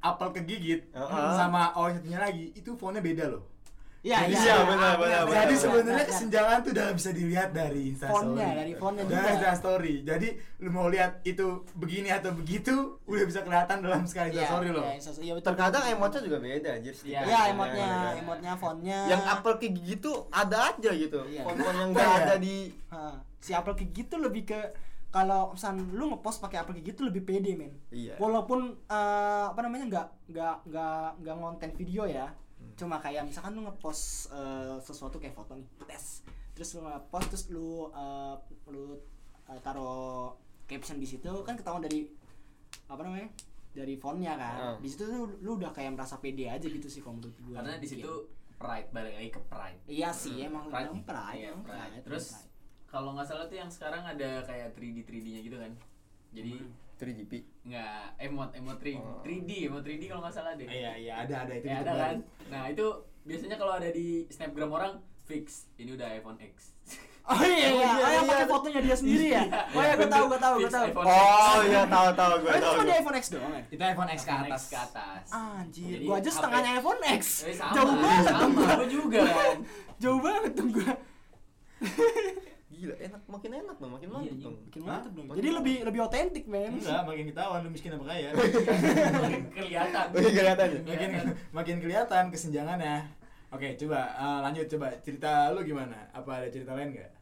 [SPEAKER 2] Apple kegigit
[SPEAKER 5] Heeh.
[SPEAKER 2] sama OS satunya lagi itu fontnya beda loh
[SPEAKER 3] Iya,
[SPEAKER 2] Jadi
[SPEAKER 5] iya, benar, benar, benar. Iya,
[SPEAKER 2] Jadi sebenarnya
[SPEAKER 3] benar.
[SPEAKER 2] kesenjangan tuh udah bisa dilihat dari Instastory.
[SPEAKER 3] Fontnya, dari fontnya
[SPEAKER 2] Dari
[SPEAKER 3] juga.
[SPEAKER 2] Instastory. Jadi lu mau lihat itu begini atau begitu udah bisa kelihatan dalam sekali
[SPEAKER 3] Iya,
[SPEAKER 2] Instastory loh.
[SPEAKER 3] iya, Instastory. Iya, betul.
[SPEAKER 5] terkadang emotnya juga beda anjir
[SPEAKER 3] Iya,
[SPEAKER 6] Iya,
[SPEAKER 5] Stikernya,
[SPEAKER 3] emotnya,
[SPEAKER 5] ya kan?
[SPEAKER 3] emotnya, fontnya.
[SPEAKER 5] yang apel kayak gitu ada aja gitu
[SPEAKER 3] Iya.
[SPEAKER 5] font-font yang
[SPEAKER 2] Kenapa
[SPEAKER 5] gak
[SPEAKER 2] ya?
[SPEAKER 5] ada di
[SPEAKER 3] Ah, si Apple kayak gitu lebih ke kalau pesan lu ngepost pakai Apple kayak gitu lebih pede men
[SPEAKER 5] Iya.
[SPEAKER 3] walaupun eh, apa namanya nggak nggak nggak nggak ngonten video ya cuma kayak misalkan lu ngepost eh, sesuatu kayak foto nih tes terus lu ngepost terus lu eh, lu eh, taruh caption di situ kan ketahuan dari apa namanya dari fontnya kan
[SPEAKER 5] Ah.
[SPEAKER 3] di situ tuh lu udah kayak merasa pede aja gitu sih kalau menurut gue
[SPEAKER 6] Karena di situ pride balik lagi ke pride.
[SPEAKER 3] iya sih emang
[SPEAKER 6] Pride.
[SPEAKER 3] emang pride,
[SPEAKER 6] Iya,
[SPEAKER 3] emang
[SPEAKER 6] pride.
[SPEAKER 3] pride,
[SPEAKER 6] Terus
[SPEAKER 3] emang pride.
[SPEAKER 6] kalau nggak salah tuh yang sekarang ada kayak 3D 3D-nya gitu kan. Jadi
[SPEAKER 3] Hmm.
[SPEAKER 5] 3GP
[SPEAKER 6] nggak emot emot 3,
[SPEAKER 5] Oh.
[SPEAKER 6] 3D emot 3D kalau nggak salah deh.
[SPEAKER 2] Iya iya ada ada itu.
[SPEAKER 6] Ya,
[SPEAKER 2] gitu
[SPEAKER 6] ada kan?
[SPEAKER 2] baru.
[SPEAKER 6] Nah itu biasanya kalau ada di snapgram orang fix ini udah iPhone X.
[SPEAKER 3] oh iya iya,
[SPEAKER 5] iya,
[SPEAKER 3] oh, yang
[SPEAKER 5] iya.
[SPEAKER 3] pakai fotonya dia sendiri ya oh iya gue
[SPEAKER 6] Bener.
[SPEAKER 3] tahu gue tahu gue
[SPEAKER 6] Fix
[SPEAKER 3] tahu
[SPEAKER 6] iPhone
[SPEAKER 5] Oh
[SPEAKER 6] X.
[SPEAKER 5] iya tahu tahu gue
[SPEAKER 3] oh itu
[SPEAKER 5] tahu.
[SPEAKER 3] cuma di
[SPEAKER 5] gua.
[SPEAKER 3] iPhone X doang ya
[SPEAKER 2] Kita iPhone X ke
[SPEAKER 6] iPhone
[SPEAKER 2] atas.
[SPEAKER 6] X ke atas.
[SPEAKER 3] anjir
[SPEAKER 6] Jadi
[SPEAKER 3] gue aja
[SPEAKER 6] HP
[SPEAKER 3] setengahnya iPhone X
[SPEAKER 6] Eh, sama,
[SPEAKER 3] jauh banget dong
[SPEAKER 6] sama,
[SPEAKER 3] gua.
[SPEAKER 6] gua juga kan.
[SPEAKER 3] jauh banget dong gue
[SPEAKER 5] Gila enak makin enak dong makin
[SPEAKER 6] Iya,
[SPEAKER 5] mantap
[SPEAKER 6] iya.
[SPEAKER 5] dong.
[SPEAKER 3] bikin
[SPEAKER 2] Hah?
[SPEAKER 3] mantep dong
[SPEAKER 5] Makin
[SPEAKER 3] jadi
[SPEAKER 5] mantep.
[SPEAKER 3] lebih lebih otentik men
[SPEAKER 2] Enggak, makin ketahuan lu miskin apa kaya.
[SPEAKER 6] kelihatan.
[SPEAKER 3] Oh,
[SPEAKER 5] Iya, kelihatan ya?
[SPEAKER 2] makin
[SPEAKER 6] kan?
[SPEAKER 3] Iya.
[SPEAKER 2] makin kelihatan kesenjangannya. Oke, coba eh, lanjut coba cerita lu gimana? Apa ada cerita lain enggak?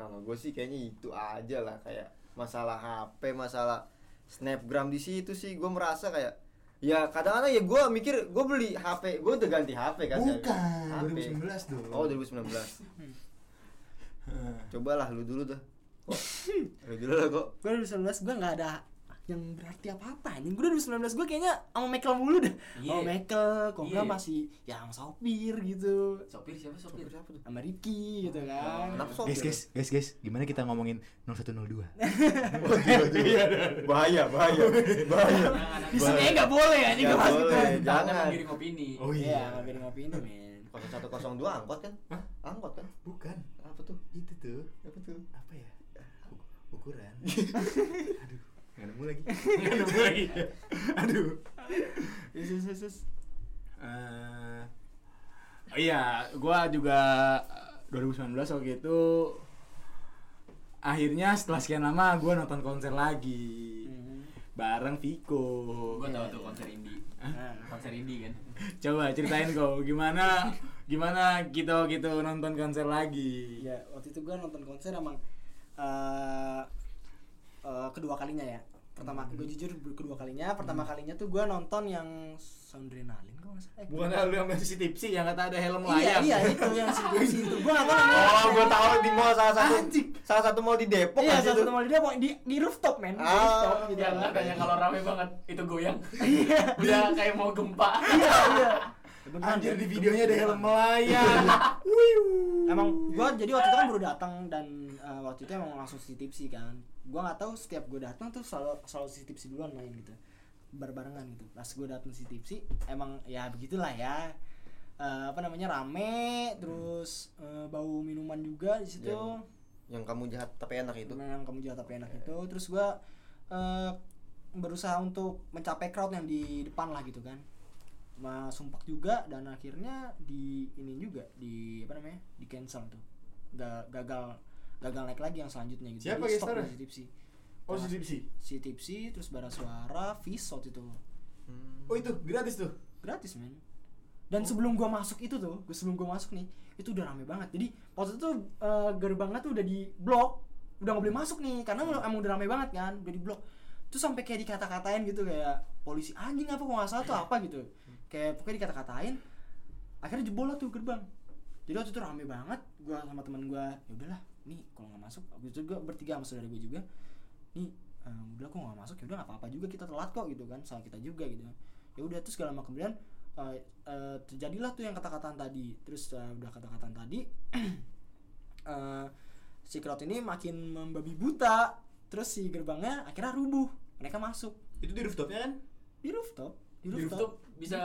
[SPEAKER 5] Kalau gue sih kayaknya itu aja lah kayak masalah HP, masalah snapgram di situ sih gue merasa kayak ya kadang-kadang ya gue mikir gue beli HP gue udah ganti HP kan
[SPEAKER 2] Bukan,
[SPEAKER 5] HP.
[SPEAKER 2] 2019 dong.
[SPEAKER 5] oh 2019
[SPEAKER 2] Heeh.
[SPEAKER 5] cobalah lu dulu dah Kok? lu dulu lah kok
[SPEAKER 3] gue 2019 gue nggak ada yang berarti apa-apa anjing gue 2019 gue kayaknya sama Michael mulu dah
[SPEAKER 6] Iya.
[SPEAKER 3] sama Michael kok nggak
[SPEAKER 6] Iya.
[SPEAKER 3] masih ya sama sopir gitu
[SPEAKER 6] Sopir siapa sopir?
[SPEAKER 5] Siapa tuh?
[SPEAKER 3] sama Ricky gitu kan
[SPEAKER 5] Kenapa sopir?
[SPEAKER 2] Guys, guys, guys, guys, gimana kita ngomongin 0102?
[SPEAKER 5] Wah, gila, gila. Iya,
[SPEAKER 2] Iya.
[SPEAKER 5] bahaya bahaya bahaya
[SPEAKER 3] di sini kayaknya nggak boleh anjing
[SPEAKER 5] Nggak
[SPEAKER 3] nggak masuk
[SPEAKER 5] boleh.
[SPEAKER 3] kan
[SPEAKER 6] Jangan
[SPEAKER 5] Jangan.
[SPEAKER 6] menggiring opini.
[SPEAKER 2] Oh
[SPEAKER 3] iya
[SPEAKER 2] iya,
[SPEAKER 3] nggak bikin ngopi ini men
[SPEAKER 5] 0102 angkot kan
[SPEAKER 2] Hah?
[SPEAKER 5] angkot kan
[SPEAKER 2] bukan.
[SPEAKER 5] apa tuh
[SPEAKER 2] Itu tuh
[SPEAKER 5] apa tuh
[SPEAKER 2] apa ya? U- ukuran. Aduh, nggak nemu lagi. Nggak nemu lagi. Iya, Aduh.
[SPEAKER 3] Yes, yes, yes, yes.
[SPEAKER 2] iya. eh iya, gua juga eh, 2019 waktu itu akhirnya setelah sekian lama gua nonton konser lagi
[SPEAKER 3] Hmm.
[SPEAKER 2] bareng Viko.
[SPEAKER 6] Gua tahu tuh konser indie.
[SPEAKER 3] Nah,
[SPEAKER 6] Konser indie kan.
[SPEAKER 2] Coba ceritain kok gimana gimana kita gitu nonton konser lagi.
[SPEAKER 3] ya waktu itu gue nonton konser emang eh eh, kedua kalinya ya pertama gue jujur kedua kalinya pertama kalinya tuh gue nonton yang Soundrenalin kok nggak salah Eh,
[SPEAKER 2] Bukan lu yang masih tipsi yang kata ada helm
[SPEAKER 3] iya
[SPEAKER 2] layang.
[SPEAKER 3] iya itu yang si Desi itu gue nggak tahu namanya
[SPEAKER 5] oh gue tahu di mall salah satu
[SPEAKER 3] Anjing.
[SPEAKER 5] salah satu mall di Depok
[SPEAKER 3] iya
[SPEAKER 5] kan
[SPEAKER 3] salah
[SPEAKER 5] situ.
[SPEAKER 3] satu mall dia mau di di rooftop men di
[SPEAKER 5] Ah,
[SPEAKER 3] rooftop gitu
[SPEAKER 6] Yang
[SPEAKER 3] kan.
[SPEAKER 6] katanya Ya, kalau rame banget itu goyang.
[SPEAKER 3] iya
[SPEAKER 6] Udah kayak mau gempa.
[SPEAKER 3] iya iya Beneran,
[SPEAKER 2] Anjir
[SPEAKER 3] ya.
[SPEAKER 2] di videonya ada helm melayang. Wiu.
[SPEAKER 3] emang gue jadi waktu itu kan baru datang dan eh, waktu itu emang langsung si tipsi kan gue nggak tahu setiap gue datang tuh selalu selalu si tipsi duluan main gitu berbarengan gitu pas gue datang si tipsi emang ya begitulah ya Eh, apa namanya rame terus eh, bau minuman juga di situ
[SPEAKER 5] Yang- yang kamu jahat tapi enak
[SPEAKER 2] Gitu.
[SPEAKER 5] itu
[SPEAKER 3] yang kamu jual tapi enak itu terus gua eh, berusaha untuk mencapai crowd yang di depan lah gitu kan mas sumpak juga dan akhirnya di ini juga di apa namanya di cancel tuh Ga- gagal gagal naik lagi yang selanjutnya gitu
[SPEAKER 2] Siapa
[SPEAKER 3] Jadi
[SPEAKER 2] guest
[SPEAKER 3] stop
[SPEAKER 2] star-nya?
[SPEAKER 3] di si tipsi
[SPEAKER 2] Oh, si tipsi.
[SPEAKER 3] si tipsi terus bara suara fish waktu itu
[SPEAKER 2] Oh itu gratis tuh.
[SPEAKER 3] gratis men dan sebelum gua masuk itu tuh gua- sebelum gua masuk nih itu udah rame banget jadi waktu itu tuh eh, gerbangnya tuh udah di blok udah nggak boleh masuk nih karena emang udah rame banget kan udah di blok terus sampai kayak dikata-katain gitu kayak polisi anjing apa kok nggak salah tuh apa gitu kayak pokoknya dikata-katain akhirnya jebol lah tuh gerbang jadi waktu itu rame banget gua sama teman gua ya udahlah nih kalau nggak masuk waktu itu gua bertiga sama saudara gua juga nih eh, udah kok nggak masuk ya udah nggak apa-apa juga kita telat kok gitu kan salah kita juga gitu ya udah terus segala lama kemudian eh, eh, terjadilah tuh yang kata-kataan tadi terus eh, udah kata-kataan tadi eh si crowd ini makin membabi buta terus si gerbangnya akhirnya rubuh mereka masuk
[SPEAKER 2] Itu di rooftopnya kan?
[SPEAKER 3] di rooftop di
[SPEAKER 6] Di
[SPEAKER 3] rooftop,
[SPEAKER 6] rooftop bisa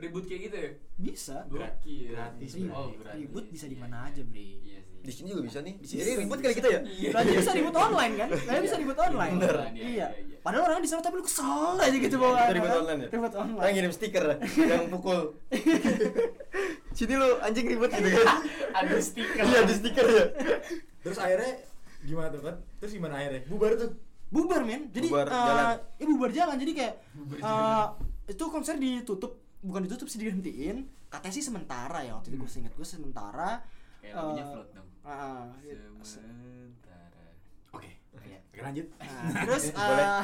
[SPEAKER 6] ribut kayak gitu ya?
[SPEAKER 3] bisa
[SPEAKER 6] Gokil.
[SPEAKER 2] Gratis,
[SPEAKER 6] Oh,
[SPEAKER 2] Bray.
[SPEAKER 6] gratis.
[SPEAKER 3] ribut bisa di
[SPEAKER 6] Iya,
[SPEAKER 3] mana
[SPEAKER 6] iya.
[SPEAKER 3] aja bre
[SPEAKER 6] Iya sih.
[SPEAKER 5] di sini juga bisa nih
[SPEAKER 3] Di sini
[SPEAKER 5] jadi ribut
[SPEAKER 3] bisa.
[SPEAKER 5] kali kita ya
[SPEAKER 3] Belajar bisa ribut online kan? Belajar bisa ribut online.
[SPEAKER 6] Bener. Iya,
[SPEAKER 3] Iya.
[SPEAKER 6] iya.
[SPEAKER 3] Padahal orangnya di sana tapi lu kesel aja gitu
[SPEAKER 5] Iya,
[SPEAKER 3] bawaan.
[SPEAKER 5] kita ribut
[SPEAKER 3] kan?
[SPEAKER 5] online ya?
[SPEAKER 3] Ribut
[SPEAKER 5] Orang
[SPEAKER 3] online.
[SPEAKER 5] ngirim stiker yang pukul. Sini lu anjing ribut gitu kan.
[SPEAKER 6] Ada stiker.
[SPEAKER 5] Iya di stiker ya.
[SPEAKER 2] Terus akhirnya gimana tuh kan? Terus gimana akhirnya? Bubar tuh.
[SPEAKER 3] Bubar men. Jadi
[SPEAKER 5] Bubar
[SPEAKER 3] eh,
[SPEAKER 5] jalan.
[SPEAKER 3] ya bubar jalan. Jadi kayak eh, itu konser ditutup bukan ditutup sih dihentiin katanya sih sementara ya waktu itu gue
[SPEAKER 5] Hmm.
[SPEAKER 3] seinget gue sementara
[SPEAKER 6] Kayak lagunya
[SPEAKER 3] Eh,
[SPEAKER 6] float dong.
[SPEAKER 3] Ah, ah.
[SPEAKER 6] Sementara.
[SPEAKER 2] Oke. Ah. Oke, lanjut.
[SPEAKER 3] Nah, terus
[SPEAKER 5] Boleh.
[SPEAKER 3] eh,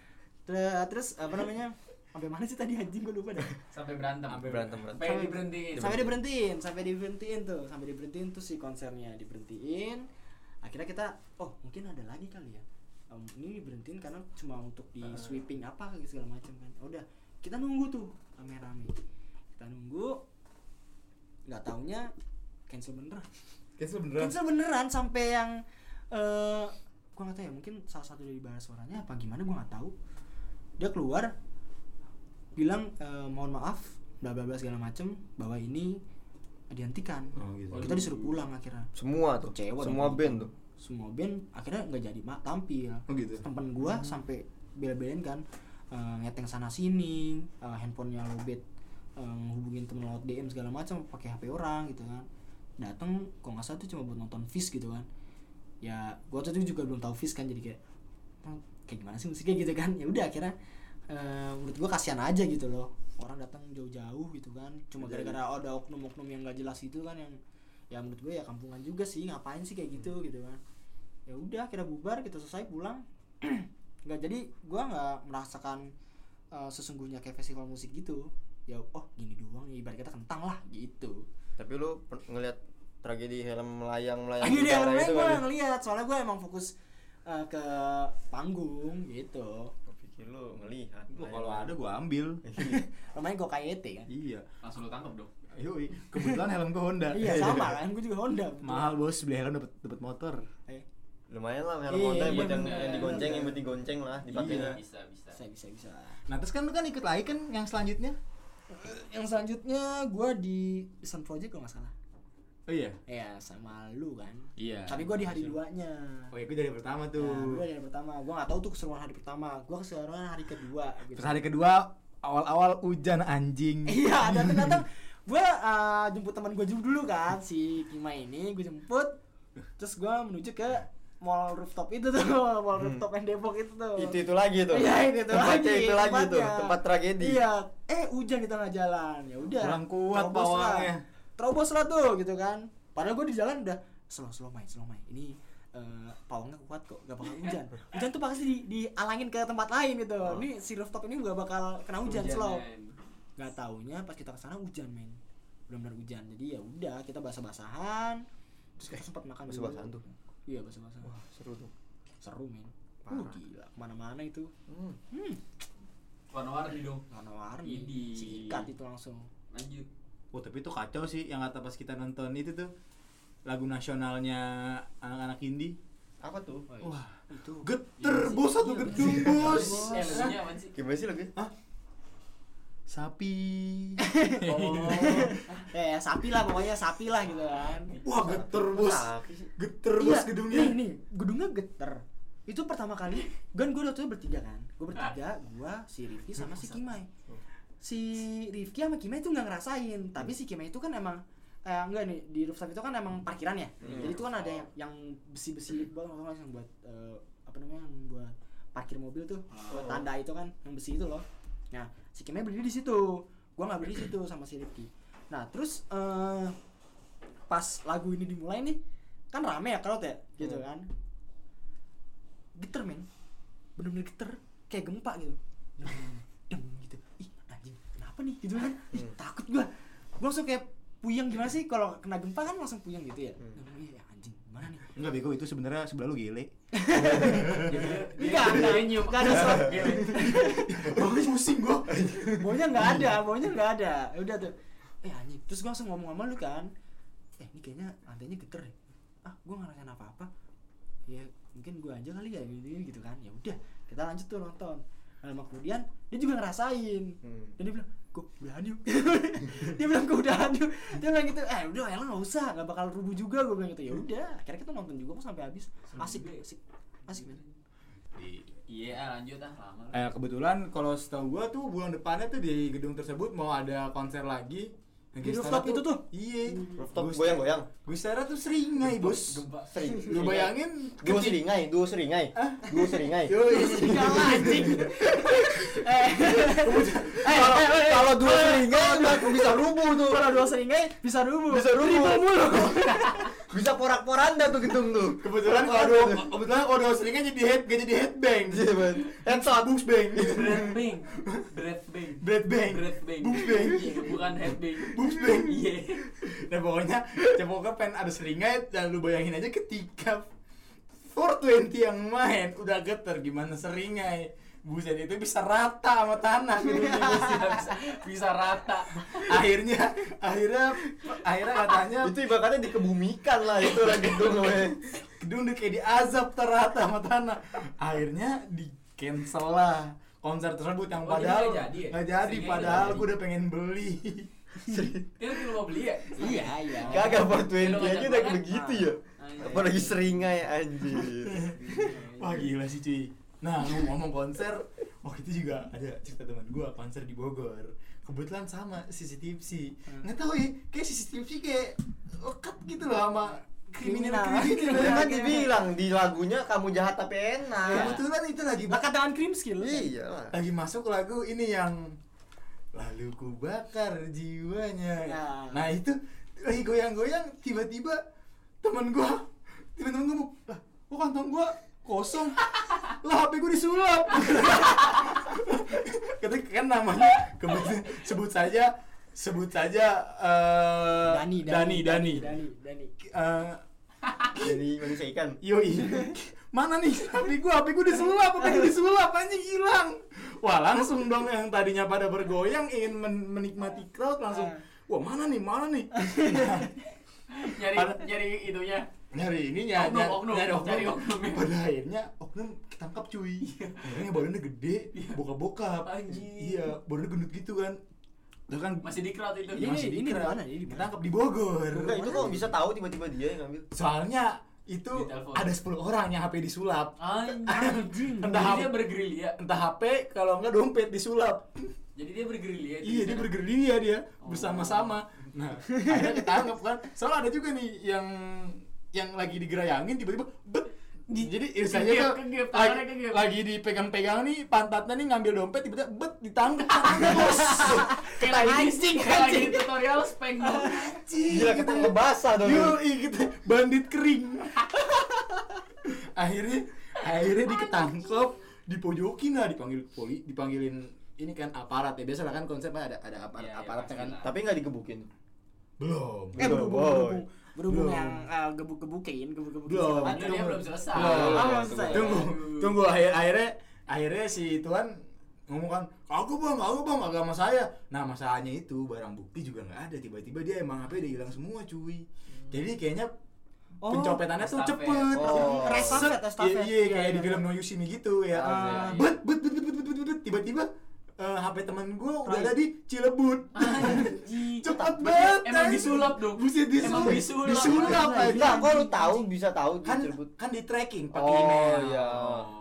[SPEAKER 3] ter- terus apa namanya sampai mana sih tadi anjing gue lupa deh
[SPEAKER 6] Sampai berantem.
[SPEAKER 2] Sampai
[SPEAKER 5] Berantem berantem.
[SPEAKER 6] Sampai diberhentiin.
[SPEAKER 3] sampai diberhentiin sampai diberhentiin tuh sampai diberhentiin tuh si konsernya diberhentiin akhirnya kita oh mungkin ada lagi kali ya em, ini berhentiin karena cuma untuk di sweeping apa segala macam kan udah kita nunggu tuh rame-rame kita nunggu nggak taunya cancel beneran
[SPEAKER 2] Cancel beneran.
[SPEAKER 3] cancel beneran sampai yang eh gua nggak tahu ya mungkin salah satu dari bahasa suaranya apa gimana gua nggak tahu dia keluar bilang eh, mohon maaf bla bla bla segala macem bahwa ini dihentikan
[SPEAKER 2] Oh, gitu.
[SPEAKER 3] kita disuruh pulang akhirnya
[SPEAKER 5] Semua tuh.
[SPEAKER 3] Kecewa dong.
[SPEAKER 5] semua band tuh.
[SPEAKER 3] semua band akhirnya nggak jadi mak tampil
[SPEAKER 2] Oh, gitu.
[SPEAKER 3] temen gua sampai bela-belain kan eh, ngeteng sana sini eh, handphonenya lobet eh, hubungin temen lewat DM segala macam pakai HP orang gitu kan datang kok nggak salah tuh cuma buat nonton Fish gitu kan ya gua tuh juga belum tahu Fish kan jadi kayak "Hmm, kayak gimana sih musiknya gitu kan ya udah akhirnya eh, menurut gua kasihan aja gitu loh orang datang jauh-jauh gitu kan cuma gara-gara ada oknum-oknum yang gak jelas itu kan yang ya menurut gue ya kampungan juga sih ngapain sih kayak gitu gitu kan ya udah kita bubar kita selesai pulang nggak jadi gua nggak merasakan eh, sesungguhnya kayak festival musik gitu ya oh gini doang ya ibarat kata kentang lah gitu
[SPEAKER 5] Tapi lu per- ngeliat tragedi helm melayang melayang
[SPEAKER 3] Akhirnya dia
[SPEAKER 5] utara
[SPEAKER 3] ngeliat
[SPEAKER 5] Eh, itu
[SPEAKER 3] gue
[SPEAKER 5] kan?
[SPEAKER 3] ngeliat soalnya gue emang fokus eh, ke panggung gitu
[SPEAKER 5] Gua pikir lu ngelihat.
[SPEAKER 2] Gua kalau ada gua ambil.
[SPEAKER 3] namanya gue KYT kan
[SPEAKER 2] iya.
[SPEAKER 6] Langsung lu tangkap dong.
[SPEAKER 2] Yoi. Kebetulan helm gua Honda.
[SPEAKER 3] iya sama kan gue juga Honda betul.
[SPEAKER 2] Mahal bos beli helm dapat dapat motor.
[SPEAKER 3] Eh,
[SPEAKER 5] Lumayan lah helm
[SPEAKER 3] Iya,
[SPEAKER 5] Honda
[SPEAKER 3] iya,
[SPEAKER 5] buat yang,
[SPEAKER 3] bener.
[SPEAKER 5] yang digonceng, yang buat digonceng lah dipakainya.
[SPEAKER 2] Iya.
[SPEAKER 6] Bisa bisa.
[SPEAKER 3] bisa bisa bisa
[SPEAKER 2] Nah terus kan lu kan ikut lagi kan yang selanjutnya?
[SPEAKER 3] yang selanjutnya gue di Sun Project kalau nggak salah
[SPEAKER 2] Oh iya.
[SPEAKER 3] ya sama lu kan
[SPEAKER 2] Iya.
[SPEAKER 3] tapi gue di hari duanya Nah,
[SPEAKER 2] Oh iya, gue dari pertama tuh.
[SPEAKER 3] gue dari pertama gue nggak tahu tuh keseruan hari pertama gue keseruan hari kedua gitu.
[SPEAKER 2] Terus hari kedua awal-awal hujan anjing.
[SPEAKER 3] iya datang datang gue eh, jemput teman gue juga dulu kan si Kima ini gue jemput terus gue menuju ke mall rooftop itu tuh mall rooftop yang Depok itu tuh
[SPEAKER 5] Hmm. Itu itu lagi tuh.
[SPEAKER 3] iya itu tuh
[SPEAKER 5] Tempatnya
[SPEAKER 3] lagi
[SPEAKER 5] itu lagi tuh.
[SPEAKER 3] tempatnya.
[SPEAKER 5] Tempat tragedi.
[SPEAKER 3] iya eh hujan di tengah jalan ya udah
[SPEAKER 2] Kurang kuat
[SPEAKER 3] terobos lah.
[SPEAKER 2] bawangnya.
[SPEAKER 3] terobos lah tuh gitu kan padahal gue di jalan udah slow slow main slow main ini eh, pawangnya kuat kok gak bakal hujan hujan tuh pasti di, dialangin ke tempat lain gitu
[SPEAKER 5] Oh.
[SPEAKER 3] ini si rooftop ini gak bakal kena Oh, hujan,
[SPEAKER 5] ya,
[SPEAKER 3] slow nggak taunya pas kita kesana hujan men benar-benar hujan jadi ya udah kita basah-basahan terus kita sempat makan dulu.
[SPEAKER 5] Eh, Basah-basahan tuh.
[SPEAKER 3] iya basah-basahan
[SPEAKER 5] Seru tuh.
[SPEAKER 3] seru men Uh,
[SPEAKER 5] Parah.
[SPEAKER 3] gila kemana-mana itu
[SPEAKER 5] Hmm.
[SPEAKER 6] Warna-warni dong.
[SPEAKER 3] warna-warni
[SPEAKER 6] Idi.
[SPEAKER 3] sikat itu langsung
[SPEAKER 6] Lanjut.
[SPEAKER 2] Wah Oh, tapi itu kacau sih yang kata pas kita nonton itu tuh lagu nasionalnya anak-anak indie.
[SPEAKER 5] Apa tuh?
[SPEAKER 2] Wah,
[SPEAKER 3] itu iya
[SPEAKER 2] geter bos satu gedung bos.
[SPEAKER 6] Eh lagunya apa sih?
[SPEAKER 5] Gimana sih lagi?
[SPEAKER 2] Sapi.
[SPEAKER 3] Oh. eh sapi lah pokoknya sapi lah gitu kan
[SPEAKER 2] Wah, geter bos.
[SPEAKER 5] Sapi sih.
[SPEAKER 2] Geter bos
[SPEAKER 3] Iya,
[SPEAKER 2] gedungnya.
[SPEAKER 3] nih, nih gedungnya geter itu pertama kali kan gue waktu itu bertiga kan gue bertiga gue si Rifki sama si Kimai si Rifki sama Kimai itu nggak ngerasain tapi si Kimai itu kan emang eh, enggak nih di rooftop itu kan emang parkiran ya jadi itu kan ada yang, yang besi-besi buat yang buat eh, apa namanya yang buat parkir mobil tuh buat tanda itu kan yang besi itu loh nah si Kimai berdiri di situ gue nggak berdiri di situ sama si Rifki nah terus eh pas lagu ini dimulai nih kan rame ya kalau ya gitu kan geter men bener-bener geter kayak gempa gitu Deng, gitu ih anjing kenapa nih gitu kan ih takut gua gua langsung kayak puyeng gimana sih kalau kena gempa kan langsung puyeng gitu ya Ih, anjing gimana nih
[SPEAKER 2] Enggak bego itu sebenarnya sebelah lu gele.
[SPEAKER 3] enggak enggak enggak ada suara
[SPEAKER 2] Bagus pusing gua.
[SPEAKER 3] baunya nggak ada baunya nggak ada udah tuh eh anjing terus gue langsung ngomong sama lu kan eh ini kayaknya antenya geter deh ah gue nggak ngerasain apa apa ya mungkin gue aja kali ya gitu gitu kan ya udah kita lanjut tuh nonton Nah, lama kemudian dia juga ngerasain
[SPEAKER 5] Hmm.
[SPEAKER 3] dan dia bilang kok udahan yuk dia bilang kok udahan yuk dia bilang gitu eh udah ya nggak usah nggak bakal rubuh juga gue bilang gitu ya udah akhirnya kita nonton juga kok sampai habis asik asik asik men
[SPEAKER 6] Iya ah, lanjut ah lama. lah.
[SPEAKER 2] Eh kebetulan kalau setahu gua tuh bulan depannya tuh di gedung tersebut mau ada konser lagi.
[SPEAKER 3] Di rooftop itu tuh?
[SPEAKER 2] Iya.
[SPEAKER 5] Rooftop
[SPEAKER 2] Gua-
[SPEAKER 5] goyang-goyang.
[SPEAKER 2] Gua secara tuh seringai, Bos.
[SPEAKER 5] Sering.
[SPEAKER 2] Lu bayangin
[SPEAKER 5] Duo seringai, duo seringai. Duo seringai.
[SPEAKER 2] Yoi.
[SPEAKER 3] Kalah anjing. Eh,
[SPEAKER 5] Kalau
[SPEAKER 3] eh, eh, eh.
[SPEAKER 5] kalau duo seringai ntar bisa rubuh tuh.
[SPEAKER 3] Kalau dua seringai bisa rubuh.
[SPEAKER 5] Bisa rubuh.
[SPEAKER 3] Dribble mulu.
[SPEAKER 5] Bisa porak-poranda tuh gedung tuh.
[SPEAKER 2] Kebetulan kalau
[SPEAKER 5] Porak-poranda.
[SPEAKER 2] dua- kebetulan kalau dua seringnya jadi head gak jadi headbang.
[SPEAKER 5] Iya, bener.
[SPEAKER 2] Headshot boost bang.
[SPEAKER 6] Dread bang. Dread bang.
[SPEAKER 2] Dread bang.
[SPEAKER 6] Dread bang.
[SPEAKER 2] Boost bang.
[SPEAKER 6] Iya, Bukan head bang.
[SPEAKER 2] Boost bang.
[SPEAKER 6] Iya.
[SPEAKER 2] Nah pokoknya Cepoka pengen ada seringai dan lu bayangin aja ketika 420 yang main udah geter gimana seringai buset itu bisa rata sama tanah gedungnya, bisa, bisa, bisa rata akhirnya akhirnya akhirnya katanya
[SPEAKER 5] Eh, itu ibaratnya dikebumikan lah itu lah gedung namanya.
[SPEAKER 2] gedung udah kayak diazab terata sama tanah akhirnya di cancel lah konser tersebut yang
[SPEAKER 6] Oh, jadi
[SPEAKER 2] padahal
[SPEAKER 6] nggak jadi ya?
[SPEAKER 2] nggak jadi
[SPEAKER 6] Seringnya
[SPEAKER 2] padahal
[SPEAKER 6] nggak
[SPEAKER 2] gue udah pengen beli
[SPEAKER 6] Dia lu mau beli ya?
[SPEAKER 4] Iya, iya.
[SPEAKER 5] kagak
[SPEAKER 6] Lu
[SPEAKER 5] 420 aja
[SPEAKER 6] ngajak
[SPEAKER 5] udah
[SPEAKER 6] banget.
[SPEAKER 3] Nah.
[SPEAKER 5] begitu
[SPEAKER 3] Ah, iya.
[SPEAKER 5] ya
[SPEAKER 6] Anjing.
[SPEAKER 5] apalagi seringai anjir
[SPEAKER 2] wah gila sih cuy nah lu ngomong konser waktu itu juga ada cerita teman gue konser di Bogor kebetulan sama sisi tipsi
[SPEAKER 6] Hmm.
[SPEAKER 2] nggak tahu ya kayak sisi tipsi kayak lekat gitu loh sama kriminal
[SPEAKER 3] Kriminal.
[SPEAKER 5] Lu
[SPEAKER 3] iya,
[SPEAKER 2] kriminal
[SPEAKER 5] kan dibilang di lagunya kamu jahat tapi enak
[SPEAKER 3] Iya.
[SPEAKER 2] kebetulan itu lagi
[SPEAKER 3] Lekat dengan krim skill.
[SPEAKER 5] iya lah
[SPEAKER 2] lagi masuk lagu ini yang lalu ku bakar jiwanya
[SPEAKER 3] Nah.
[SPEAKER 2] nah itu lagi goyang-goyang tiba-tiba teman gua teman-teman gua mau lah kok kantong gua kosong lah HP gua disulap kata kan namanya kebetulan sebut saja sebut saja eh
[SPEAKER 3] Dani,
[SPEAKER 2] Dani Dani,
[SPEAKER 3] Dani, Dani.
[SPEAKER 2] Eh,
[SPEAKER 3] Iya.
[SPEAKER 5] jadi manusia ikan
[SPEAKER 2] Yoi. Mana nih HP gua? HP gua disulap, HP gua disulap, anjing hilang. Wah, langsung dong yang tadinya pada bergoyang ingin men- menikmati crowd langsung. Wah, mana nih? Mana nih? Nah,
[SPEAKER 6] Nyari
[SPEAKER 2] Ada-
[SPEAKER 6] nyari itunya.
[SPEAKER 2] nyari Nah, ini nyari
[SPEAKER 6] Oknum, oknum, cari oknumnya.
[SPEAKER 2] Pada akhirnya oknum ketangkap cuy. Orangnya badannya gede, bokap-bokap.
[SPEAKER 6] Anjing.
[SPEAKER 2] Iya, badannya gendut gitu kan. Udah kan
[SPEAKER 6] Masih di crowd itu.
[SPEAKER 3] Ini-
[SPEAKER 2] masih
[SPEAKER 3] ini di
[SPEAKER 2] dikira.
[SPEAKER 3] mana? Ini di mana?
[SPEAKER 2] Ketangkap di Bogor.
[SPEAKER 5] enggak itu kok bisa tahu tiba-tiba dia yang ngambil
[SPEAKER 2] Soalnya itu
[SPEAKER 6] Ditelepon.
[SPEAKER 2] ada 10 orang yang HP disulap.
[SPEAKER 6] Anjing.
[SPEAKER 2] Entah
[SPEAKER 6] Jadi dia
[SPEAKER 2] apa.
[SPEAKER 6] bergerilya.
[SPEAKER 2] entah HP kalau enggak dompet disulap
[SPEAKER 6] Jadi dia bergerilya. itu
[SPEAKER 2] iya dia
[SPEAKER 6] di sana.
[SPEAKER 2] bergerilya dia bersama-sama nah akhirnya ketangkep kan soalnya ada juga nih yang yang lagi digerayangin tiba-tiba bet jadi irsanya
[SPEAKER 6] kegep,
[SPEAKER 2] tuh
[SPEAKER 6] kegep,
[SPEAKER 2] lagi,
[SPEAKER 6] tangannya kegep.
[SPEAKER 2] lagi dipegang-pegang nih pantatnya nih ngambil dompet tiba-tiba bet ditangkep tangannya bos
[SPEAKER 6] Kayak lagi
[SPEAKER 3] Anjing,
[SPEAKER 6] kayak lagi
[SPEAKER 3] anjing.
[SPEAKER 6] tutorial spank dong.
[SPEAKER 5] gila ketemu basah dong
[SPEAKER 2] Yo, gitu. bandit kering. akhirnya akhirnya diketangkep, dipojokin lah, dipanggil poli, dipanggilin ini kan aparat ya. Biasalah kan konsepnya ada ada aparat
[SPEAKER 6] Iya, iya,
[SPEAKER 2] aparatnya kan.
[SPEAKER 6] pastilah.
[SPEAKER 5] tapi nggak digebukin
[SPEAKER 2] Belum.
[SPEAKER 3] Eh, berhubung,
[SPEAKER 5] Belum, boy.
[SPEAKER 3] berhubung, berhubung
[SPEAKER 2] Belum.
[SPEAKER 3] yang eh, gebuk-gebukin, gebuk-gebukin.
[SPEAKER 2] Belum.
[SPEAKER 3] segala
[SPEAKER 6] Padahal
[SPEAKER 3] macam.
[SPEAKER 6] dia
[SPEAKER 2] Tunggu.
[SPEAKER 6] belum selesai.
[SPEAKER 5] Iya,
[SPEAKER 2] Belum.
[SPEAKER 3] Ah, belum
[SPEAKER 5] Nah,
[SPEAKER 3] selesai.
[SPEAKER 2] Tunggu, tunggu akhir akhirnya akhirnya si tuan ngomong kan aku bang aku bang agak sama saya nah masalahnya itu barang bukti juga nggak ada tiba-tiba dia emang HP udah hilang semua cuy
[SPEAKER 6] Hmm.
[SPEAKER 2] jadi kayaknya
[SPEAKER 3] Oh,
[SPEAKER 2] pencopetannya tuh
[SPEAKER 6] estafet.
[SPEAKER 2] cepet
[SPEAKER 5] Oh.
[SPEAKER 3] Estafet,
[SPEAKER 2] Set.
[SPEAKER 3] estafet.
[SPEAKER 2] Iya, iya, kayak
[SPEAKER 3] Iya,
[SPEAKER 2] di
[SPEAKER 3] iya.
[SPEAKER 2] film No You See Me gitu ya
[SPEAKER 5] Ah,
[SPEAKER 3] iya,
[SPEAKER 6] iya.
[SPEAKER 2] bet bet bet bet bet bet, bet, bet. tiba-tiba eh, HP teman gue udah ada di Cilebut
[SPEAKER 6] Ah,
[SPEAKER 2] cepet banget
[SPEAKER 6] iya. Emang
[SPEAKER 2] anjing.
[SPEAKER 6] disulap dong.
[SPEAKER 2] buset disulap
[SPEAKER 6] Emang disulap.
[SPEAKER 2] disulap anjing.
[SPEAKER 5] Enggak, kok lu tahu bisa tahu
[SPEAKER 2] kan
[SPEAKER 5] dicerbut.
[SPEAKER 2] kan di tracking pakai
[SPEAKER 5] Oh,
[SPEAKER 2] email
[SPEAKER 5] iya.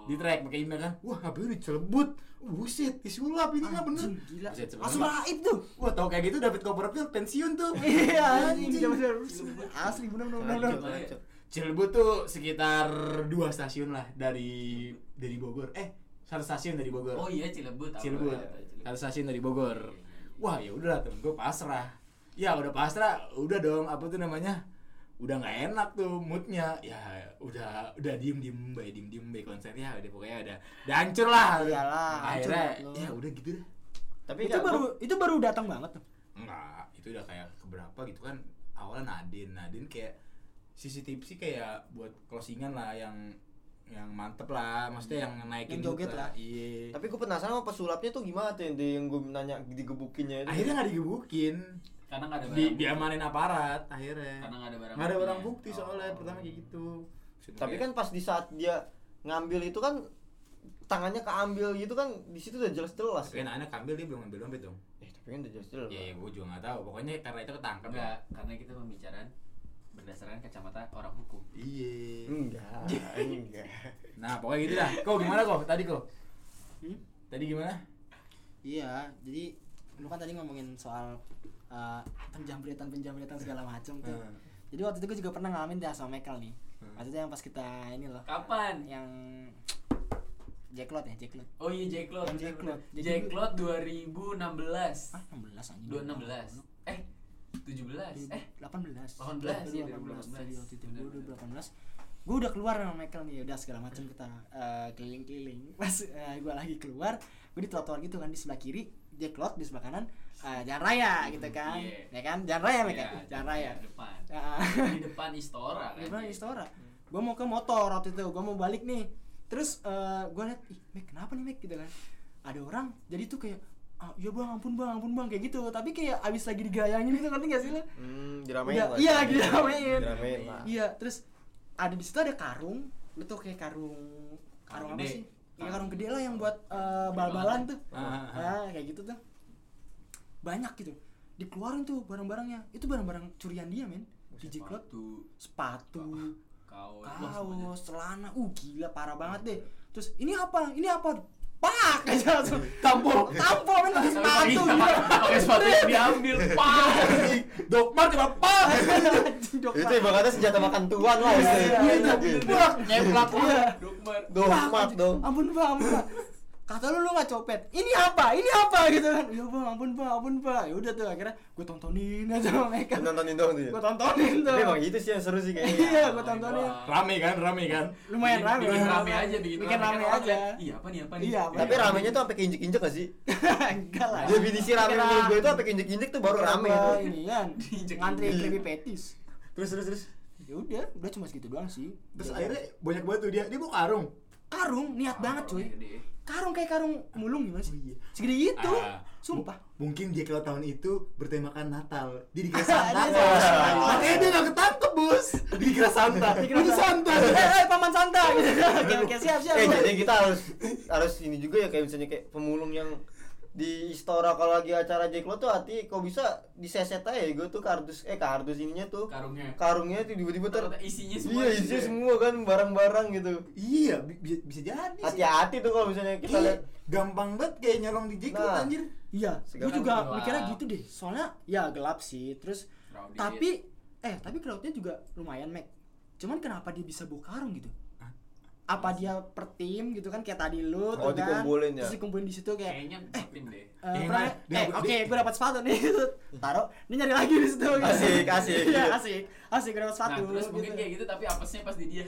[SPEAKER 2] di track pakai email kan wah HP udah Cilebut buset disulap ini nggak bener
[SPEAKER 3] Anjing, Ah, Gila.
[SPEAKER 2] Buset, sebelum
[SPEAKER 3] Langsung
[SPEAKER 2] Mbak.
[SPEAKER 3] raib tuh.
[SPEAKER 2] wah tau kayak gitu David Copperfield pensiun tuh
[SPEAKER 3] Iya, anjing.
[SPEAKER 2] Anjing.
[SPEAKER 3] bener-bener. Asli bener bener bener.
[SPEAKER 5] Lanjut,
[SPEAKER 3] bener.
[SPEAKER 5] lanjut.
[SPEAKER 2] Cilebut tuh sekitar dua stasiun lah dari dari Bogor eh satu stasiun dari Bogor
[SPEAKER 6] Oh iya Cilebut. apa?
[SPEAKER 2] Cilebut.
[SPEAKER 6] Cilebut.
[SPEAKER 2] Satu stasiun dari Bogor. Wah, ya udah temen gue pasrah. Ya udah pasrah, udah dong apa tuh namanya? Udah nggak enak tuh moodnya. Ya udah udah diem diem bay diem diem bay konsernya ya, udah pokoknya udah udah hancur lah.
[SPEAKER 3] Iyalah, hancur
[SPEAKER 2] Akhirnya
[SPEAKER 3] banget lo.
[SPEAKER 2] ya udah gitu deh.
[SPEAKER 5] Tapi
[SPEAKER 3] Itu
[SPEAKER 5] nggak,
[SPEAKER 3] baru itu baru datang banget tuh.
[SPEAKER 2] Enggak, itu udah kayak keberapa gitu kan awalnya Nadin, Nadin kayak CCTV sih kayak buat closingan lah yang yang mantep lah, maksudnya yang naikin
[SPEAKER 3] Iya. Yang joget
[SPEAKER 2] mood
[SPEAKER 3] lah.
[SPEAKER 2] Iya.
[SPEAKER 5] tapi gue penasaran sama pesulapnya tuh gimana tuh yang, di- yang gue nanya digebukinnya itu.
[SPEAKER 2] Akhirnya nggak digebukin.
[SPEAKER 6] Karena nggak ada
[SPEAKER 2] di
[SPEAKER 6] barang.
[SPEAKER 2] diamanin aparat akhirnya
[SPEAKER 6] Karena nggak ada barang
[SPEAKER 2] nggak ada barang bukti
[SPEAKER 6] buktinya.
[SPEAKER 2] soalnya
[SPEAKER 6] Oh.
[SPEAKER 2] pertama kayak gitu
[SPEAKER 5] Tapi kan pas di saat dia ngambil itu kan tangannya keambil gitu kan di situ udah jelas-jelas.
[SPEAKER 2] tapi kan anak ambil dia belum ngambil dompet dong
[SPEAKER 5] Eh, tapi kan udah jelas-jelas.
[SPEAKER 2] ya, ya gue juga nggak tahu pokoknya karena itu ketangkep ya.
[SPEAKER 6] Enggak, karena kita pembicaraan berdasarkan kacamata orang hukum.
[SPEAKER 2] iya
[SPEAKER 5] Enggak, enggak.
[SPEAKER 2] nah pokoknya gitu dah kok gimana kok tadi kok
[SPEAKER 3] Hmm?
[SPEAKER 2] tadi gimana
[SPEAKER 3] Iya, jadi lu kan tadi ngomongin soal eh, penjamretan-penjamretan segala macam tuh.
[SPEAKER 2] Hmm.
[SPEAKER 3] Jadi waktu itu gue juga pernah ngalamin dah sama Michael nih.
[SPEAKER 2] Hmm.
[SPEAKER 3] Waktu itu yang pas kita ini loh.
[SPEAKER 6] Kapan?
[SPEAKER 3] Yang Jacklot ya, Jacklot.
[SPEAKER 6] Oh iya Jacklot.
[SPEAKER 3] Jack Lot. Jadi-
[SPEAKER 6] Jacklot 2016.
[SPEAKER 3] Ah, 16 anjing.
[SPEAKER 6] 2016. Eh 17. Eh
[SPEAKER 3] 18
[SPEAKER 6] 18, iya,
[SPEAKER 3] 2018 tadi waktu itu Gua
[SPEAKER 6] 2018.
[SPEAKER 3] 2018 gue udah keluar sama Michael nih udah segala macam kita eh, keliling-keliling pas gue lagi keluar gue di trotoar gitu kan di sebelah kiri dia klot di sebelah kanan eh, jalan raya gitu kan
[SPEAKER 6] Iya.
[SPEAKER 3] ya kan jalan raya Michael
[SPEAKER 6] Iya,
[SPEAKER 3] jalan raya
[SPEAKER 6] Di depan.
[SPEAKER 3] Ah,
[SPEAKER 6] Di depan Istora kan.
[SPEAKER 3] di depan Istora gue "Iya, mau ke motor waktu itu gue mau balik nih terus gue liat ih Mac kenapa nih Mac gitu kan ada orang jadi tuh kayak ah, ya bang ampun bang ampun bang kayak gitu tapi kayak abis lagi digayangin gitu ngerti gak sih lo
[SPEAKER 5] hmm, diramein
[SPEAKER 3] Udah,
[SPEAKER 5] lah
[SPEAKER 3] iya, diramein.
[SPEAKER 5] diramein lah
[SPEAKER 3] iya terus ada di situ ada karung itu tuh kayak karung karung
[SPEAKER 4] Karung
[SPEAKER 3] apa
[SPEAKER 4] gede.
[SPEAKER 3] sih Iya karung gede lah yang buat eh, bal-balan tuh
[SPEAKER 2] Ah, ah,
[SPEAKER 3] nah kayak gitu tuh banyak gitu dikeluarin tuh barang-barangnya itu barang-barang curian dia men dijiklot
[SPEAKER 4] Sepatu,
[SPEAKER 3] sepatu
[SPEAKER 4] kaos, wah, semuanya.
[SPEAKER 3] kaos celana uh gila parah banget deh terus ini apa ini apa pak aja langsung tampol tampol men pakai
[SPEAKER 4] Pakai-
[SPEAKER 3] Iya. sepatu gila
[SPEAKER 4] Pakai sepatu yang diambil,
[SPEAKER 5] Iya.
[SPEAKER 4] pak.
[SPEAKER 2] Dokmar cuma pak.
[SPEAKER 4] Iya.
[SPEAKER 3] Anjing, dok,
[SPEAKER 5] itu
[SPEAKER 3] Pak.
[SPEAKER 5] ibaratnya senjata makan tuan lah
[SPEAKER 3] Iya,
[SPEAKER 5] itu.
[SPEAKER 3] iya, iya,
[SPEAKER 5] Gitu.
[SPEAKER 3] Plak, nyeplak iya
[SPEAKER 6] Dokmar.
[SPEAKER 5] Domat dong
[SPEAKER 3] ampun pak ampun pak kata lu lu nggak copet ini apa ini apa gitu kan ya bang ampun pak ampun pak ya udah tuh akhirnya gue tontonin aja sama mereka
[SPEAKER 5] Lu nontonin dong tuh ya?
[SPEAKER 3] gue tontonin tuh
[SPEAKER 5] Tapi emang gitu sih yang seru sih kayaknya
[SPEAKER 3] iya gue tontonin
[SPEAKER 2] Rame kan, rame kan.
[SPEAKER 3] lumayan
[SPEAKER 4] Bikin-
[SPEAKER 3] rame
[SPEAKER 4] bikin rame aja, bikin rame.
[SPEAKER 3] bikin rame
[SPEAKER 4] Kan orang
[SPEAKER 3] aja
[SPEAKER 4] liat, Iya, apa nih, apa nih?
[SPEAKER 3] Iya, apa
[SPEAKER 5] Tapi ramenya tuh sampai keinjek-injek gak sih?
[SPEAKER 4] Iya.
[SPEAKER 3] enggak lah
[SPEAKER 5] Definisi rame
[SPEAKER 3] Kira-
[SPEAKER 5] menurut gue itu sampai keinjek-injek tuh baru
[SPEAKER 3] kira
[SPEAKER 5] rame
[SPEAKER 3] gua
[SPEAKER 5] tuh.
[SPEAKER 3] ini kan
[SPEAKER 4] Diinjek
[SPEAKER 3] ngantri
[SPEAKER 2] Iya.
[SPEAKER 5] injek.
[SPEAKER 3] creepy petis
[SPEAKER 5] Terus terus terus
[SPEAKER 3] ya udah udah cuma segitu doang sih
[SPEAKER 2] Terus akhirnya Ah, banyak banget tuh dia, dia bawa karung.
[SPEAKER 3] karung niat banget
[SPEAKER 2] iya,
[SPEAKER 3] cuy
[SPEAKER 6] Orangnya gede.
[SPEAKER 3] karung kayak karung mulung gimana sih segede itu
[SPEAKER 2] Oh, Ah.
[SPEAKER 3] sumpah
[SPEAKER 2] Mungkin dia kalau tahun itu bertemakan Natal, dia dikira
[SPEAKER 3] Dia
[SPEAKER 2] Santa.
[SPEAKER 3] dikira
[SPEAKER 5] Santa.
[SPEAKER 2] Makanya dia nggak ketangkep bos. Dia dikira Santa.
[SPEAKER 3] Dikira
[SPEAKER 2] Itu
[SPEAKER 3] Santa.
[SPEAKER 2] Santa.
[SPEAKER 3] eh eh, paman Santa gitu oke oke siap
[SPEAKER 6] Iya,
[SPEAKER 3] siap
[SPEAKER 5] Eh jadi kita harus harus ini juga ya kayak misalnya kayak pemulung yang di istora kalau lagi acara Jacklo tuh hati kok bisa diseset aja gue tuh kardus eh kardus ininya tuh
[SPEAKER 6] Karungnya.
[SPEAKER 5] karungnya tuh tiba-tiba ter
[SPEAKER 6] Ternyata isinya semua. gitu ya.
[SPEAKER 5] iya isinya semua kan barang-barang gitu
[SPEAKER 2] Iya, bi- bisa, bisa jadi sih.
[SPEAKER 5] hati-hati tuh kalau misalnya kita
[SPEAKER 2] Iya,
[SPEAKER 5] lihat
[SPEAKER 2] gampang banget kayak nyolong di jiklot
[SPEAKER 5] Nah.
[SPEAKER 2] anjir.
[SPEAKER 3] iya
[SPEAKER 5] Segala
[SPEAKER 3] gue juga
[SPEAKER 6] gelap.
[SPEAKER 3] mikirnya gitu deh soalnya ya gelap sih terus
[SPEAKER 2] Oh,
[SPEAKER 6] Crowded.
[SPEAKER 3] tapi eh tapi crowdnya juga lumayan Mac cuman kenapa dia bisa bawa karung gitu apa dia per tim gitu kan kayak tadi lu tuh
[SPEAKER 5] Oh,
[SPEAKER 3] kan
[SPEAKER 5] dikumpulin ya?
[SPEAKER 3] terus dikumpulin di situ kayak
[SPEAKER 6] Kayaknya tim deh.
[SPEAKER 3] Eh,
[SPEAKER 2] Yang
[SPEAKER 3] pernah-
[SPEAKER 2] lain, dia-
[SPEAKER 3] eh,
[SPEAKER 2] dia-
[SPEAKER 3] oke, gue dapat sepatu nih. Taruh, ini nyari lagi di situ. gitu.
[SPEAKER 5] Asik, asik.
[SPEAKER 3] Iya, asik. Asik, gue dapat
[SPEAKER 6] Nah,
[SPEAKER 3] sepatu.
[SPEAKER 6] terus mungkin
[SPEAKER 3] gitu.
[SPEAKER 6] kayak gitu tapi apesnya pas di dia.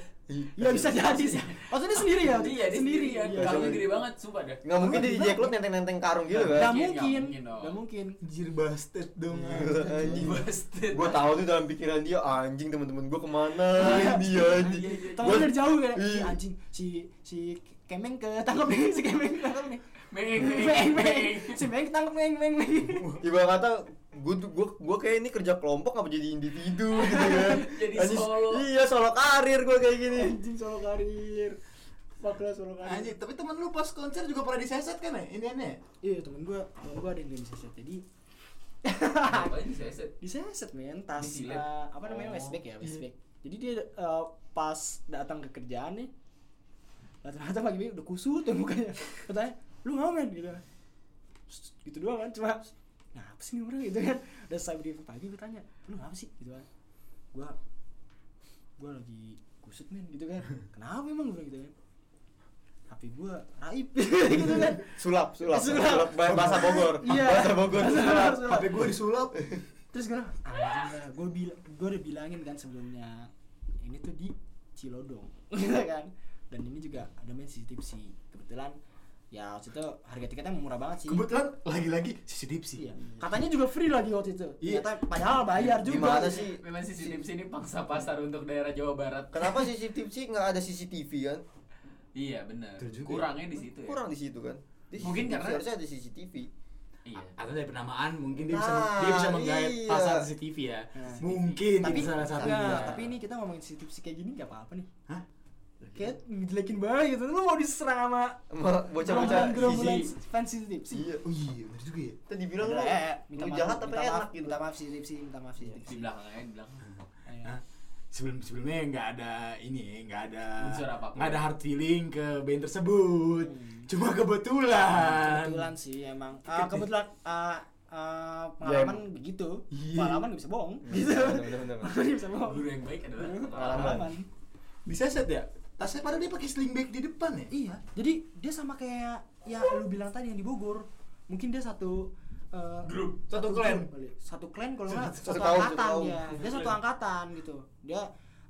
[SPEAKER 3] Iya bisa jadi sih. Waktu ini sendiri ya?
[SPEAKER 6] Iya, dia sendiri.
[SPEAKER 3] sendiri. Iya.
[SPEAKER 6] Karungnya gede banget, sumpah dah.
[SPEAKER 5] nggak mungkin di Jacklo nenteng-nenteng karung gitu
[SPEAKER 3] Gak
[SPEAKER 5] kan
[SPEAKER 6] Mungkin,
[SPEAKER 3] mungkin,
[SPEAKER 6] nggak mungkin dong. Iya,
[SPEAKER 3] gak mungkin.
[SPEAKER 2] Anjir busted dong.
[SPEAKER 5] Iya, anjing
[SPEAKER 6] Busted.
[SPEAKER 5] gue tahu tuh dalam pikiran dia anjing teman-teman gue kemana
[SPEAKER 6] Iya,
[SPEAKER 5] dia anjing
[SPEAKER 3] Temen dari jauh kan?
[SPEAKER 5] Iya.
[SPEAKER 3] Iya anjing, si si Kemeng ketangkep nih, si Kemeng ketangkep nih.
[SPEAKER 6] Meng,
[SPEAKER 3] Meng, meng, si Meng ketangkep meng, meng, meng.
[SPEAKER 5] Ibarat kata gue gue gue kayak ini kerja kelompok apa jadi individu gitu kan
[SPEAKER 6] Jadi
[SPEAKER 5] Anjing,
[SPEAKER 6] solo.
[SPEAKER 5] iya solo karir gue kayak gini
[SPEAKER 3] Anjing solo karir. Fuck lah solo
[SPEAKER 2] Anjir,
[SPEAKER 3] karir.
[SPEAKER 2] tapi temen lu pas konser juga pernah diseset kan ya? Ini aneh.
[SPEAKER 3] Iya temen gue, temen gue ada yang diseset jadi
[SPEAKER 6] Ngapain diseset?
[SPEAKER 3] diseset men tas
[SPEAKER 6] Disilet.
[SPEAKER 3] eh, apa namanya
[SPEAKER 6] Oh.
[SPEAKER 3] Westback ya Westback jadi dia eh, pas datang ke kerjaan nih datang-datang pagi udah kusut tuh mukanya katanya lu ngamen gitu Sss, gitu doang kan cuma ngapa sih nih orang gitu kan udah saya briefing pagi gue tanya lu ngapa sih gitu kan gua gua lagi kusut men gitu kan kenapa emang gue gitu kan HP gua raib gitu kan
[SPEAKER 5] sulap sulap
[SPEAKER 3] Sulap.
[SPEAKER 5] sulap, bah- bahasa Bogor
[SPEAKER 3] Iya.
[SPEAKER 5] bahasa Bogor
[SPEAKER 3] Bahasa
[SPEAKER 5] sulap.
[SPEAKER 3] Bogor.
[SPEAKER 2] HP gue disulap.
[SPEAKER 3] Iya. terus gue anjing gue bilang gue udah bilangin kan sebelumnya ini tuh di Cilodong gitu kan dan ini juga ada main CCTV sih kebetulan ya waktu itu harga tiketnya murah banget sih
[SPEAKER 2] Kebetulan lagi-lagi CCTV sih.
[SPEAKER 3] Iya. katanya juga free lagi waktu itu
[SPEAKER 2] Iya.
[SPEAKER 3] Ternyata padahal bayar juga
[SPEAKER 5] gimana sih
[SPEAKER 6] Memang sih CCTV ini pangsa pasar untuk daerah Jawa Barat.
[SPEAKER 5] kenapa CCTV sih nggak ada CCTV kan
[SPEAKER 3] Gitu
[SPEAKER 6] Iya, benar.
[SPEAKER 2] Betul juga.
[SPEAKER 6] Kurangnya di situ ya.
[SPEAKER 5] kurang di situ kan Di
[SPEAKER 6] Mungkin
[SPEAKER 5] CCTV
[SPEAKER 6] karena-
[SPEAKER 5] harusnya ada CCTV
[SPEAKER 6] Iya.
[SPEAKER 2] atau dari penamaan mungkin dia bisa
[SPEAKER 5] Nah,
[SPEAKER 2] dia bisa menggait
[SPEAKER 5] iya.
[SPEAKER 2] pasar CCTV ya
[SPEAKER 3] Nah.
[SPEAKER 2] mungkin
[SPEAKER 3] tapi
[SPEAKER 2] itu salah satunya
[SPEAKER 3] enggak, tapi ini kita ngomongin CCTV sih kayak gini nggak apa-apa nih
[SPEAKER 2] Hah?
[SPEAKER 3] kayak ngejelekin banget gitu lu mau diserang sama
[SPEAKER 5] Sama bocah-bocah
[SPEAKER 3] gerombolan
[SPEAKER 5] CCTV.
[SPEAKER 3] fans CCTV sih
[SPEAKER 5] iya
[SPEAKER 2] oh iya bener juga ya
[SPEAKER 5] tadi bilang lu
[SPEAKER 3] Eh,
[SPEAKER 5] lu jahat tapi
[SPEAKER 3] minta
[SPEAKER 5] enak
[SPEAKER 3] maaf,
[SPEAKER 5] gitu
[SPEAKER 3] minta maaf CCTV sih minta maaf CCTV
[SPEAKER 6] Di belakang aja, di belakang.
[SPEAKER 3] Ayo.
[SPEAKER 2] Hah? sebelum sebelumnya nggak ada ini ya, nggak ada
[SPEAKER 6] Unsur apapun.
[SPEAKER 2] nggak ada hard feeling ke band tersebut cuma kebetulan
[SPEAKER 3] Hmm. kebetulan sih emang Ah, kebetulan ah, ah, pengalaman begitu
[SPEAKER 2] Iya.
[SPEAKER 3] pengalaman gak bisa bohong gitu
[SPEAKER 5] Iya, Bener-bener.
[SPEAKER 3] pengalaman gak bisa bohong
[SPEAKER 6] Guru yang baik adalah
[SPEAKER 5] Pengalaman.
[SPEAKER 2] diseset ya tasnya pada dia pakai sling bag di depan ya
[SPEAKER 3] iya jadi dia sama kayak ya lu bilang tadi yang di Bogor mungkin dia satu eh,
[SPEAKER 2] Grup. Satu klan.
[SPEAKER 3] grup kali. satu klan kalau nggak
[SPEAKER 5] Satu-
[SPEAKER 3] Gitu. satu,
[SPEAKER 5] satu kaum,
[SPEAKER 3] angkatan
[SPEAKER 5] satu kaum.
[SPEAKER 3] dia dia satu
[SPEAKER 6] Klan.
[SPEAKER 3] angkatan gitu dia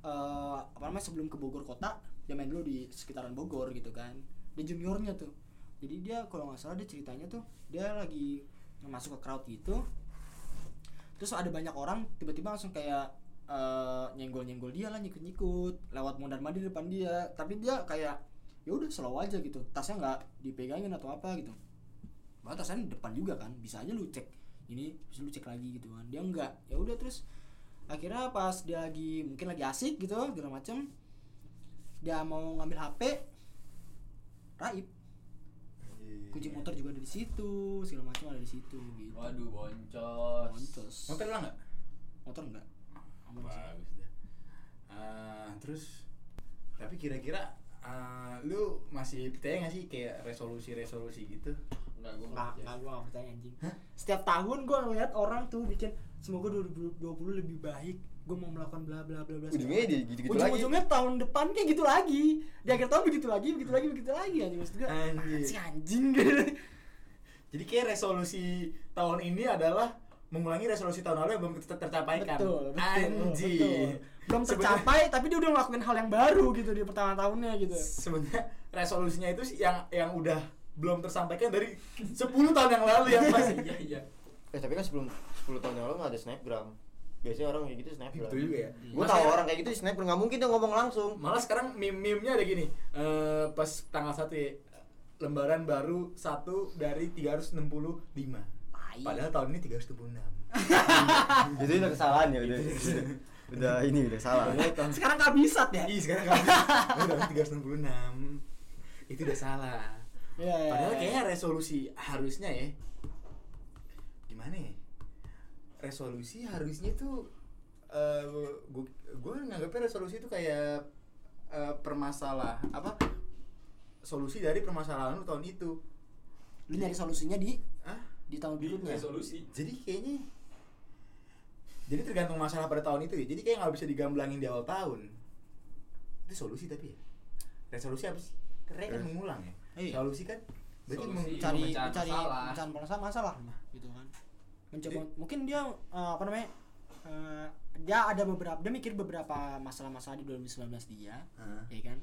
[SPEAKER 3] eh, apa namanya sebelum ke Bogor kota dia main dulu di sekitaran Bogor gitu kan dia juniornya tuh jadi dia kalau nggak salah dia ceritanya tuh dia lagi masuk ke crowd gitu terus ada banyak orang tiba-tiba langsung kayak eh, nyenggol-nyenggol dia lah nyikut-nyikut lewat mondar mandir depan dia tapi dia kayak ya udah slow aja gitu tasnya nggak dipegangin atau apa gitu Padahal tasnya di depan juga kan bisa aja lu cek ini bisa lu cek lagi gitu kan dia nggak ya udah terus akhirnya pas dia lagi mungkin lagi asik gitu segala macem dia mau ngambil HP raib kunci
[SPEAKER 2] Iya.
[SPEAKER 3] motor juga ada di situ segala macam ada di situ gitu
[SPEAKER 6] Waduh, boncos.
[SPEAKER 3] Moncos.
[SPEAKER 2] Motor hilang nggak?
[SPEAKER 3] motor enggak aman sih.
[SPEAKER 2] Bagus dah. Ah, terus tapi kira-kira ah, lu masih percaya nggak sih kayak resolusi-resolusi gitu?
[SPEAKER 6] Enggak gua
[SPEAKER 3] Enggak, enggak gue gak percaya anjing Setiap tahun gue ngeliat orang tuh bikin Semoga 2020 lebih baik Gue mau melakukan bla bla bla bla
[SPEAKER 5] Ujungnya dia gitu-gitu Gitu lagi.
[SPEAKER 3] Ujung-ujungnya tahun depan kayak gitu lagi Di akhir tahun begitu lagi, begitu lagi, begitu lagi Anjing maksud gue
[SPEAKER 2] Anjir.
[SPEAKER 3] Si anjing gitu
[SPEAKER 2] Jadi kayak resolusi tahun ini adalah mengulangi resolusi tahun lalu yang belum ter- tercapaikan.
[SPEAKER 3] Betul, betul, betul.
[SPEAKER 2] Anjir.
[SPEAKER 3] Belum
[SPEAKER 2] Sebenarnya-
[SPEAKER 3] tercapai tapi dia udah ngelakuin hal yang baru gitu di pertama tahunnya gitu
[SPEAKER 2] sebenarnya resolusinya itu sih yang yang udah belum tersampaikan dari 10 tahun yang lalu yang masih
[SPEAKER 6] Iya, iya.
[SPEAKER 5] Eh tapi kan sebelum 10 tahun yang lalu nggak ada snapgram. Biasanya orang kayak gitu snapgram.
[SPEAKER 2] Betul juga ya.
[SPEAKER 5] Gue tahu orang kayak gitu di snapgram nggak mungkin dia ngomong langsung.
[SPEAKER 2] malah sekarang meme-memenya ada gini eh, pas tanggal 1 ya, lembaran baru satu dari 365 padahal tahun ini 366
[SPEAKER 5] Jadi udah kesalahan ya udah. udah ini udah salah.
[SPEAKER 2] padahal tahun
[SPEAKER 3] Sekarang gak bisa ya
[SPEAKER 2] Ih, sekarang kan tahun 366 itu udah salah
[SPEAKER 3] Iya, iya,
[SPEAKER 2] padahal
[SPEAKER 3] iya.
[SPEAKER 2] kayaknya resolusi harusnya ya gimana ya resolusi harusnya tuh gue gue nganggapnya resolusi itu kayak eh, permasalah apa solusi dari permasalahan lu tahun itu
[SPEAKER 3] Lu nyari solusinya di
[SPEAKER 2] ah
[SPEAKER 3] di tahun berikutnya
[SPEAKER 6] Resolusi.
[SPEAKER 2] jadi kayaknya jadi tergantung masalah pada tahun itu ya jadi kayak nggak bisa digamblangin di awal tahun itu solusi tapi ya resolusi apa sih re kan mengulang ya
[SPEAKER 3] Iya.
[SPEAKER 2] solusi kan berarti
[SPEAKER 6] Solusi.
[SPEAKER 2] meng-
[SPEAKER 3] mencari
[SPEAKER 6] Mencari
[SPEAKER 3] mencari
[SPEAKER 6] masalah.
[SPEAKER 3] pecahan masalah masalah mah gitu kan mencoba
[SPEAKER 2] Jadi-
[SPEAKER 3] mungkin dia eh, apa namanya eh, dia ada beberapa dia mikir beberapa masalah-masalah di 2019 dia
[SPEAKER 2] Heeh.
[SPEAKER 3] ya kan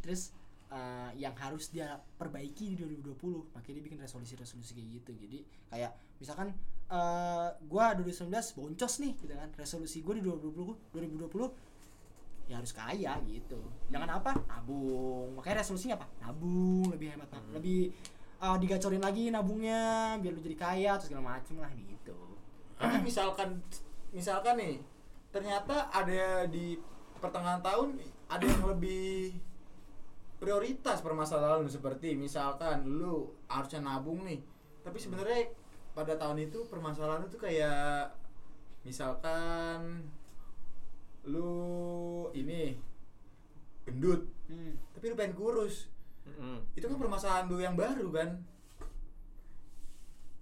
[SPEAKER 3] terus eh, yang harus dia perbaiki di 2020 makanya dia bikin resolusi-resolusi kayak gitu jadi kayak misalkan eh, gua 2019 boncos nih gitu kan resolusi gua di 2020 2020 ya harus kaya gitu jangan apa nabung makanya resolusinya apa nabung lebih hemat
[SPEAKER 5] Hmm.
[SPEAKER 3] nah- lebih eh, digacorin lagi nabungnya biar lu jadi kaya terus segala macem lah gitu
[SPEAKER 2] tapi misalkan misalkan nih ternyata ada di pertengahan tahun ada yang lebih prioritas permasalahan lu. seperti misalkan lu harusnya nabung nih tapi sebenarnya pada tahun itu permasalahan itu kayak misalkan lu ini gendut
[SPEAKER 3] hmm.
[SPEAKER 2] tapi lu pengen kurus
[SPEAKER 5] Mm-mm.
[SPEAKER 2] itu kan permasalahan lu yang baru kan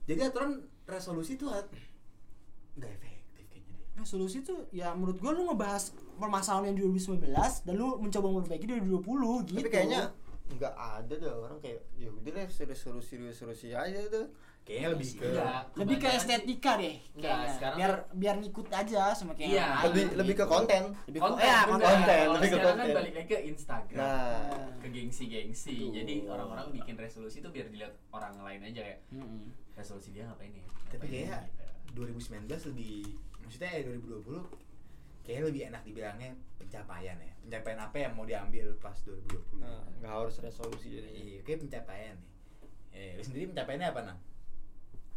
[SPEAKER 2] jadi aturan resolusi itu nggak efektif kayaknya deh
[SPEAKER 3] resolusi tuh ya menurut gua lu ngebahas permasalahan yang di 2019 dan lu mencoba memperbaiki di 2020 gitu
[SPEAKER 5] Tapi kayaknya nggak ada deh orang kayak ya udah deh resolusi resolusi aja tuh.
[SPEAKER 2] kayaknya lebih ke
[SPEAKER 6] Enggak,
[SPEAKER 3] lebih ke
[SPEAKER 6] kebanyakan sih
[SPEAKER 3] estetika deh
[SPEAKER 6] Enggak,
[SPEAKER 3] kayaknya.
[SPEAKER 6] sekarang
[SPEAKER 3] biar biar ngikut aja sama kayak
[SPEAKER 6] Iya,
[SPEAKER 3] yang lain.
[SPEAKER 5] Lebih Nah, gitu. lebih ke konten.
[SPEAKER 3] Lebih
[SPEAKER 6] Oh, konten,
[SPEAKER 3] ya,
[SPEAKER 6] bener.
[SPEAKER 3] konten.
[SPEAKER 5] konten,
[SPEAKER 6] Kalau
[SPEAKER 5] lebih ke
[SPEAKER 6] sekarang
[SPEAKER 5] konten.
[SPEAKER 6] kan balik lagi ke Instagram
[SPEAKER 5] Nah,
[SPEAKER 6] ke gengsi-gengsi
[SPEAKER 5] Tuh.
[SPEAKER 6] jadi orang-orang bikin resolusi itu biar dilihat orang lain aja kayak
[SPEAKER 3] Mm-mm.
[SPEAKER 6] resolusi dia ngapain ya
[SPEAKER 2] tapi
[SPEAKER 6] Ngapain
[SPEAKER 2] kayak
[SPEAKER 6] ya?"
[SPEAKER 2] 2019 lebih maksudnya ya 2020 kayaknya lebih enak dibilangnya pencapaian ya pencapaian apa yang mau diambil pas 2020
[SPEAKER 5] nah, nggak harus resolusi ya. jadi.
[SPEAKER 2] iya kayak pencapaian nih eh lu sendiri pencapaiannya apa nang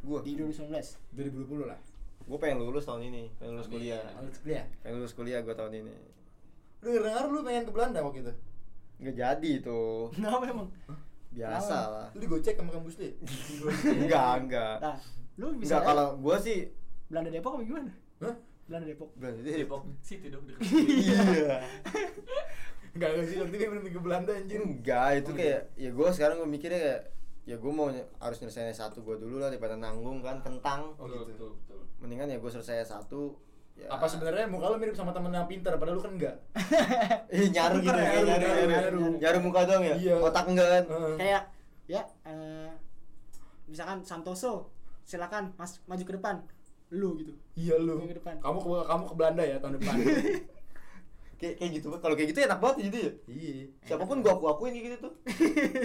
[SPEAKER 5] Gue,
[SPEAKER 3] di 2019
[SPEAKER 2] 2020 lah
[SPEAKER 5] gue pengen lulus tahun ini, pengen lulus
[SPEAKER 6] Amin.
[SPEAKER 5] kuliah,
[SPEAKER 2] lulus kuliah
[SPEAKER 5] pengen lulus kuliah gue tahun ini.
[SPEAKER 2] lu dengar lu pengen ke Belanda waktu itu
[SPEAKER 5] Nggak jadi tuh,
[SPEAKER 3] kenapa emang
[SPEAKER 5] biasa
[SPEAKER 3] Kenapa?
[SPEAKER 5] lah.
[SPEAKER 2] lu digocek sama kampus lu ya?
[SPEAKER 5] Enggak, enggak.
[SPEAKER 3] nah lu bisa
[SPEAKER 5] Enggak kalau gue sih
[SPEAKER 3] Belanda Depok apa gimana
[SPEAKER 2] Hah?
[SPEAKER 3] Belanda Depok
[SPEAKER 5] berarti
[SPEAKER 6] Depok situ dong deket
[SPEAKER 5] Iya.
[SPEAKER 2] Enggak, enggak sih, waktu itu pengen ke Belanda anjir
[SPEAKER 5] Hmm. Enggak, itu kayak ya gue sekarang gue mikirnya kayak ya gue mau ny- harus nyelesain S1 gue dulu lah daripada nanggung kan kentang.
[SPEAKER 2] Oh
[SPEAKER 6] Betul,
[SPEAKER 2] gitu.
[SPEAKER 6] betul, betul.
[SPEAKER 5] Mendingan ya gue selesai S1 ya.
[SPEAKER 2] Apa sebenarnya muka lu mirip sama temen yang pintar padahal lu kan enggak?
[SPEAKER 5] Ih, nyaru gitu
[SPEAKER 2] Nyaru,
[SPEAKER 5] ya, nyaru,
[SPEAKER 2] nyaru,
[SPEAKER 5] nyaru,
[SPEAKER 2] nyaru.
[SPEAKER 5] Nyaru muka doang ya?
[SPEAKER 2] Iya.
[SPEAKER 5] Otak enggak kan?
[SPEAKER 2] Heeh.
[SPEAKER 3] kayak ya eh, misalkan Santoso silakan mas maju ke depan lu gitu
[SPEAKER 2] Iya lu.
[SPEAKER 3] Minggu depan.
[SPEAKER 2] Kamu ke kamu ke Belanda ya tahun depan.
[SPEAKER 5] Kayak kayak gitu. Kalau kayak gitu enak banget ya, jadi ya.
[SPEAKER 2] iya.
[SPEAKER 5] Siapapun gue aku-akuin kayak gitu tuh.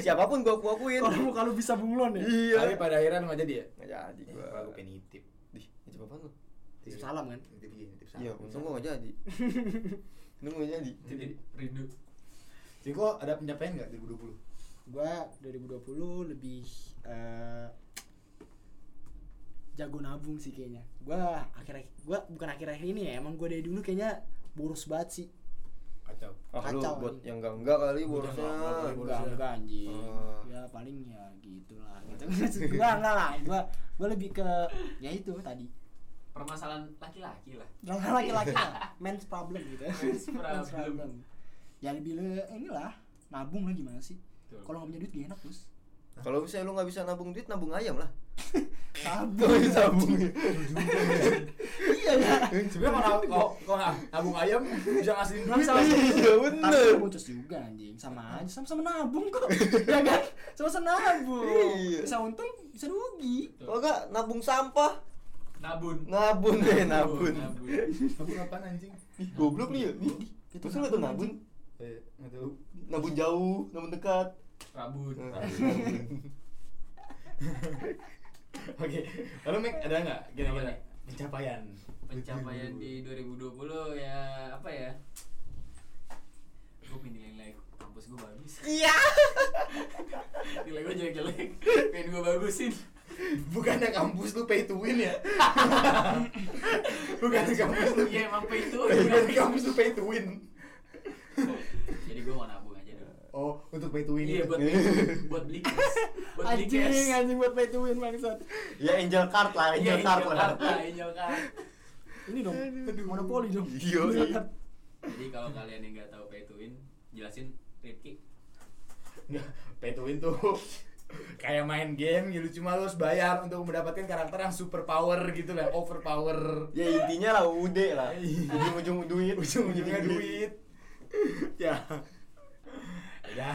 [SPEAKER 5] Siapapun gue aku-akuin.
[SPEAKER 3] kalau muka lu bisa bunglon ya
[SPEAKER 5] Iya.
[SPEAKER 2] Tapi pada akhirnya lu nggak jadi ya?
[SPEAKER 5] Nggak jadi gue.
[SPEAKER 2] Kalau gue penitip.
[SPEAKER 5] Dih, ini coba apaan lu?
[SPEAKER 3] Titip salam kan?
[SPEAKER 2] Nitip iya, nitip salam.
[SPEAKER 5] Iya, untung gua gak jadi. untung gak jadi.
[SPEAKER 6] Jadi rindu.
[SPEAKER 2] Jadi kok ada pencapaian nggak 2020?
[SPEAKER 3] gua 2020 lebih eh, jago nabung sih kayaknya gua akhir akhir gua bukan akhir akhir ini ya emang gua dari dulu kayaknya boros banget sih
[SPEAKER 2] Kacau.
[SPEAKER 5] Ah, lu
[SPEAKER 3] Kacau,
[SPEAKER 5] buat
[SPEAKER 3] anjing.
[SPEAKER 5] yang enggak enggak
[SPEAKER 2] Buat
[SPEAKER 5] kali
[SPEAKER 2] yang
[SPEAKER 5] borosnya.
[SPEAKER 2] nggak-nggak kali
[SPEAKER 3] enggak
[SPEAKER 2] borosnya.
[SPEAKER 3] enggak anjing
[SPEAKER 5] Oh.
[SPEAKER 3] ya paling ya gitulah gitu Maksud gua enggak lah gua gua lebih ke ya itu tadi
[SPEAKER 6] Permasalahan laki-laki lah.
[SPEAKER 3] jangan laki-laki lah men's problem gitu
[SPEAKER 6] Men's problem.
[SPEAKER 3] ya lebih le inilah nabung lah gimana sih
[SPEAKER 6] Betul.
[SPEAKER 3] kalau nggak punya duit gak enak terus
[SPEAKER 5] Kalau misalnya lu nggak bisa nabung duit, nabung ayam lah.
[SPEAKER 6] Oh,
[SPEAKER 3] nabung
[SPEAKER 5] nabung.
[SPEAKER 3] iya ya
[SPEAKER 2] Sebenarnya kalau kalau kalau nggak nabung ayam bisa ngasihin
[SPEAKER 3] Tapi
[SPEAKER 2] duit.
[SPEAKER 3] sama
[SPEAKER 5] Iya, bener.
[SPEAKER 3] Tapi lu putus juga anjing. Sama aja, sama-sama nabung kok. ya kan? Sama-sama nabung.
[SPEAKER 5] Iya.
[SPEAKER 3] Bisa untung, bisa rugi.
[SPEAKER 5] Kalau enggak nabung sampah,
[SPEAKER 6] Nabun.
[SPEAKER 5] nabun deh nabun.
[SPEAKER 6] Nabun.
[SPEAKER 2] Nabung apaan anjing?
[SPEAKER 5] Ih, goblok lu ya. Ih,
[SPEAKER 3] Itu
[SPEAKER 5] Masa lu tau
[SPEAKER 3] nabun,
[SPEAKER 5] nabun?
[SPEAKER 2] Eh, nggak tahu.
[SPEAKER 5] Nabun jauh, nabun dekat.
[SPEAKER 6] Rabun.
[SPEAKER 5] Hmm.
[SPEAKER 2] Oke, lalu Mik ada nggak
[SPEAKER 6] Apa
[SPEAKER 2] kira-kira
[SPEAKER 6] nih?
[SPEAKER 2] pencapaian?
[SPEAKER 6] Pencapaian di 2020 ya apa ya? Gue pengen nilai kampus gue bagus.
[SPEAKER 5] Iya.
[SPEAKER 6] Nilai gue jelek-jelek. Pengen gue bagusin.
[SPEAKER 2] Bukannya kampus lu pay to win ya? Bukannya kampus lu
[SPEAKER 6] Iya emang pay to win.
[SPEAKER 2] Bukannya kampus lu pay to win.
[SPEAKER 6] Jadi gue mau nabung aja dulu.
[SPEAKER 2] Oh, untuk pay to win.
[SPEAKER 6] Iya
[SPEAKER 2] itu.
[SPEAKER 6] buat beli, buat beli cash. Buat beli
[SPEAKER 3] Anjing,
[SPEAKER 6] cash.
[SPEAKER 3] anjing buat pay to win bangsat.
[SPEAKER 5] Ya angel card lah,
[SPEAKER 6] Iya,
[SPEAKER 5] Ya, angel card lah.
[SPEAKER 6] Jakarta, Jakarta.
[SPEAKER 3] Ini dong, monopoli dong.
[SPEAKER 5] Iya, iya.
[SPEAKER 6] Jadi kalau kalian yang nggak tahu pay to win, jelasin Rifki.
[SPEAKER 2] Nggak, pay to win tuh kayak main game gitu cuma lu harus bayar untuk mendapatkan karakter yang super power gitu lah, overpower.
[SPEAKER 5] Ya intinya lah UD lah.
[SPEAKER 2] Iya.
[SPEAKER 5] Ujung-ujung duit,
[SPEAKER 2] ujung-ujungnya duit ya ya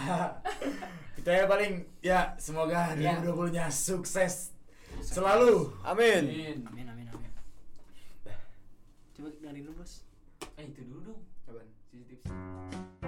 [SPEAKER 2] kita ya paling ya semoga
[SPEAKER 6] Ya.
[SPEAKER 2] 2020 nya sukses selalu
[SPEAKER 5] Amin.
[SPEAKER 6] Amin.
[SPEAKER 3] Amin amin amin. Coba dengerin lu, Bos.
[SPEAKER 6] Eh itu dulu dong. CCTV.